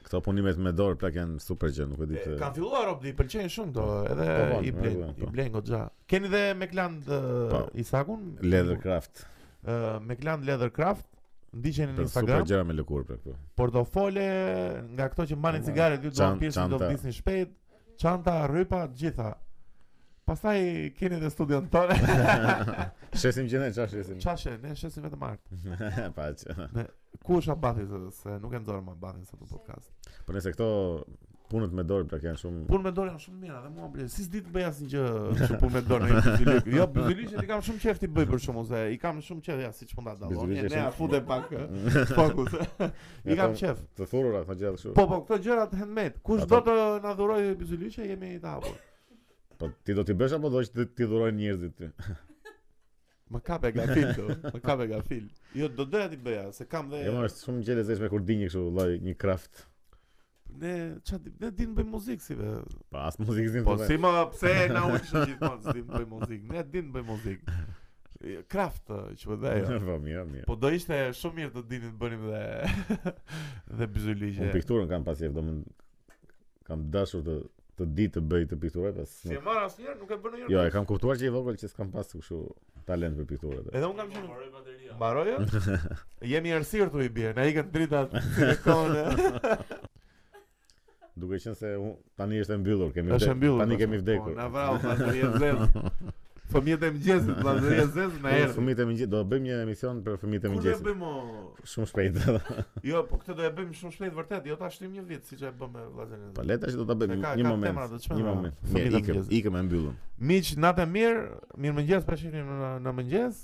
Speaker 1: Këto punimet me dorë plak janë super gjë, nuk e di
Speaker 2: E,
Speaker 1: pse.
Speaker 2: Kanë filluar Robdi, pëlqejnë shumë këto, edhe
Speaker 1: Po, po,
Speaker 2: i blen,
Speaker 1: po, po.
Speaker 2: i blen goxha. Keni dhe me klan
Speaker 1: Po.
Speaker 2: Isakun?
Speaker 1: Leathercraft.
Speaker 2: Ë, me klan Leathercraft. Ndiqeni në
Speaker 1: Për super
Speaker 2: Instagram.
Speaker 1: gjëra me lëkurë plak. po.
Speaker 2: portofole nga këto që mbanin
Speaker 1: Ma,
Speaker 2: cigare dy do
Speaker 1: çan-
Speaker 2: pjesë do
Speaker 1: çanta.
Speaker 2: vdisni shpejt, çanta, rrypa, të gjitha. Pastaj keni edhe studion
Speaker 1: [laughs]
Speaker 2: tonë.
Speaker 1: Shesim gjënë, çfarë shesim?
Speaker 2: Çashe, ne shesim vetëm art.
Speaker 1: [laughs] Pa që.
Speaker 2: Ku është Abati se, se nuk e nxorëm Abatin sa të podcast.
Speaker 1: Po nëse këto punët me dorë plak janë shumë
Speaker 2: Punë me dorë janë shumë mira dhe mua bler. Si s'di të bëj asnjë gjë që punë me dorë në bizylik. Jo, bizylikun i kam shumë qejf ti bëj për shkakun se i kam shumë qejf ja siç mund ta dalloj.
Speaker 1: Bizyliqe
Speaker 2: Ne ja
Speaker 1: shumë-
Speaker 2: futem pak eh,
Speaker 1: [laughs]
Speaker 2: fokus. I
Speaker 1: Ja,
Speaker 2: kam
Speaker 1: po,
Speaker 2: qejf.
Speaker 1: të thurura, këto gjëra kështu.
Speaker 2: Po po, këto gjërat handmade. Kush
Speaker 1: Ato-
Speaker 2: do të na dhurojë bizyliqe jemi të hapur.
Speaker 1: Po ti do t'i bësh apo do që ti- ti dhurojnë njerëzit ty?
Speaker 2: Më kap e gafil do, më kap e gafil. Jo, do doja ti bëja, se kam dhe
Speaker 1: Jo, më është shumë gjelëzeshme kur di një kështu lloj një kraft.
Speaker 2: ne ç'a di- ne din bëj muzikë si be.
Speaker 1: Pa as muzikë zin.
Speaker 2: Po si më pse na u kishë gjithmonë si din bëj muzikë. Ne din bëj muzikë. E, Kraft ë, që më dhe jo.
Speaker 1: [laughs] Po mirë, mirë.
Speaker 2: Po do ishte shumë mirë të dinin të bënim dhe [laughs] dhe
Speaker 1: Unë
Speaker 2: byzyligje.
Speaker 1: pikturën kam pasjef, domethënë kam dashur të të di të bëj të pikturë, pas.
Speaker 2: Si e marr asnjëherë nuk e bën ndonjëherë.
Speaker 1: Jo, e kam kuptuar që i vogël që s'kam pas kështu talent për pikturët.
Speaker 2: Edhe unë kam qenë mbaroj bateria. Mbaroj? jo?
Speaker 1: [laughs]
Speaker 2: Jemi errësirë tu i bie. Na ikën dritat në kohën. e-
Speaker 1: Duke qenë se unë tani është e mbyllur, kemi
Speaker 2: Është e
Speaker 1: vdekur.
Speaker 2: mbyllur.
Speaker 1: Tani
Speaker 2: pastaj.
Speaker 1: kemi vdekur.
Speaker 2: Po, na vrau bateria zezë. Fëmijët e mëngjesit, bateria zezë
Speaker 1: [laughs]
Speaker 2: na erdhi.
Speaker 1: Fëmijët e mëngjesit do bëjmë një emision për fëmijët e
Speaker 2: Kur do e
Speaker 1: mëngjesit.
Speaker 2: bëjmë? o?
Speaker 1: Shumë shpejt. [laughs]
Speaker 2: Jo, po këtë do e bëjmë shumë shpejt vërtet, jo ta shtrim një vit siç e bëm me vllazën.
Speaker 1: Po le tash do ta bëjmë
Speaker 2: Ka-
Speaker 1: një
Speaker 2: ka
Speaker 1: moment.
Speaker 2: temra do të çmendra.
Speaker 1: Një moment. Mirë,
Speaker 2: Fëmijët e
Speaker 1: ikëm,
Speaker 2: mëngjesit.
Speaker 1: ikëm e mbyllëm.
Speaker 2: Miq, natë e mirë, mirëmëngjes, pra shihni në, në mëngjes.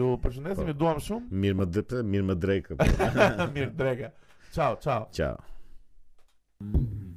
Speaker 2: Ju përshëndesim,
Speaker 1: Po.
Speaker 2: ju duam
Speaker 1: [laughs]
Speaker 2: shumë.
Speaker 1: Mirë më dëpte, mirë më drejkë.
Speaker 2: mirë drega. Ciao, ciao.
Speaker 1: Ciao.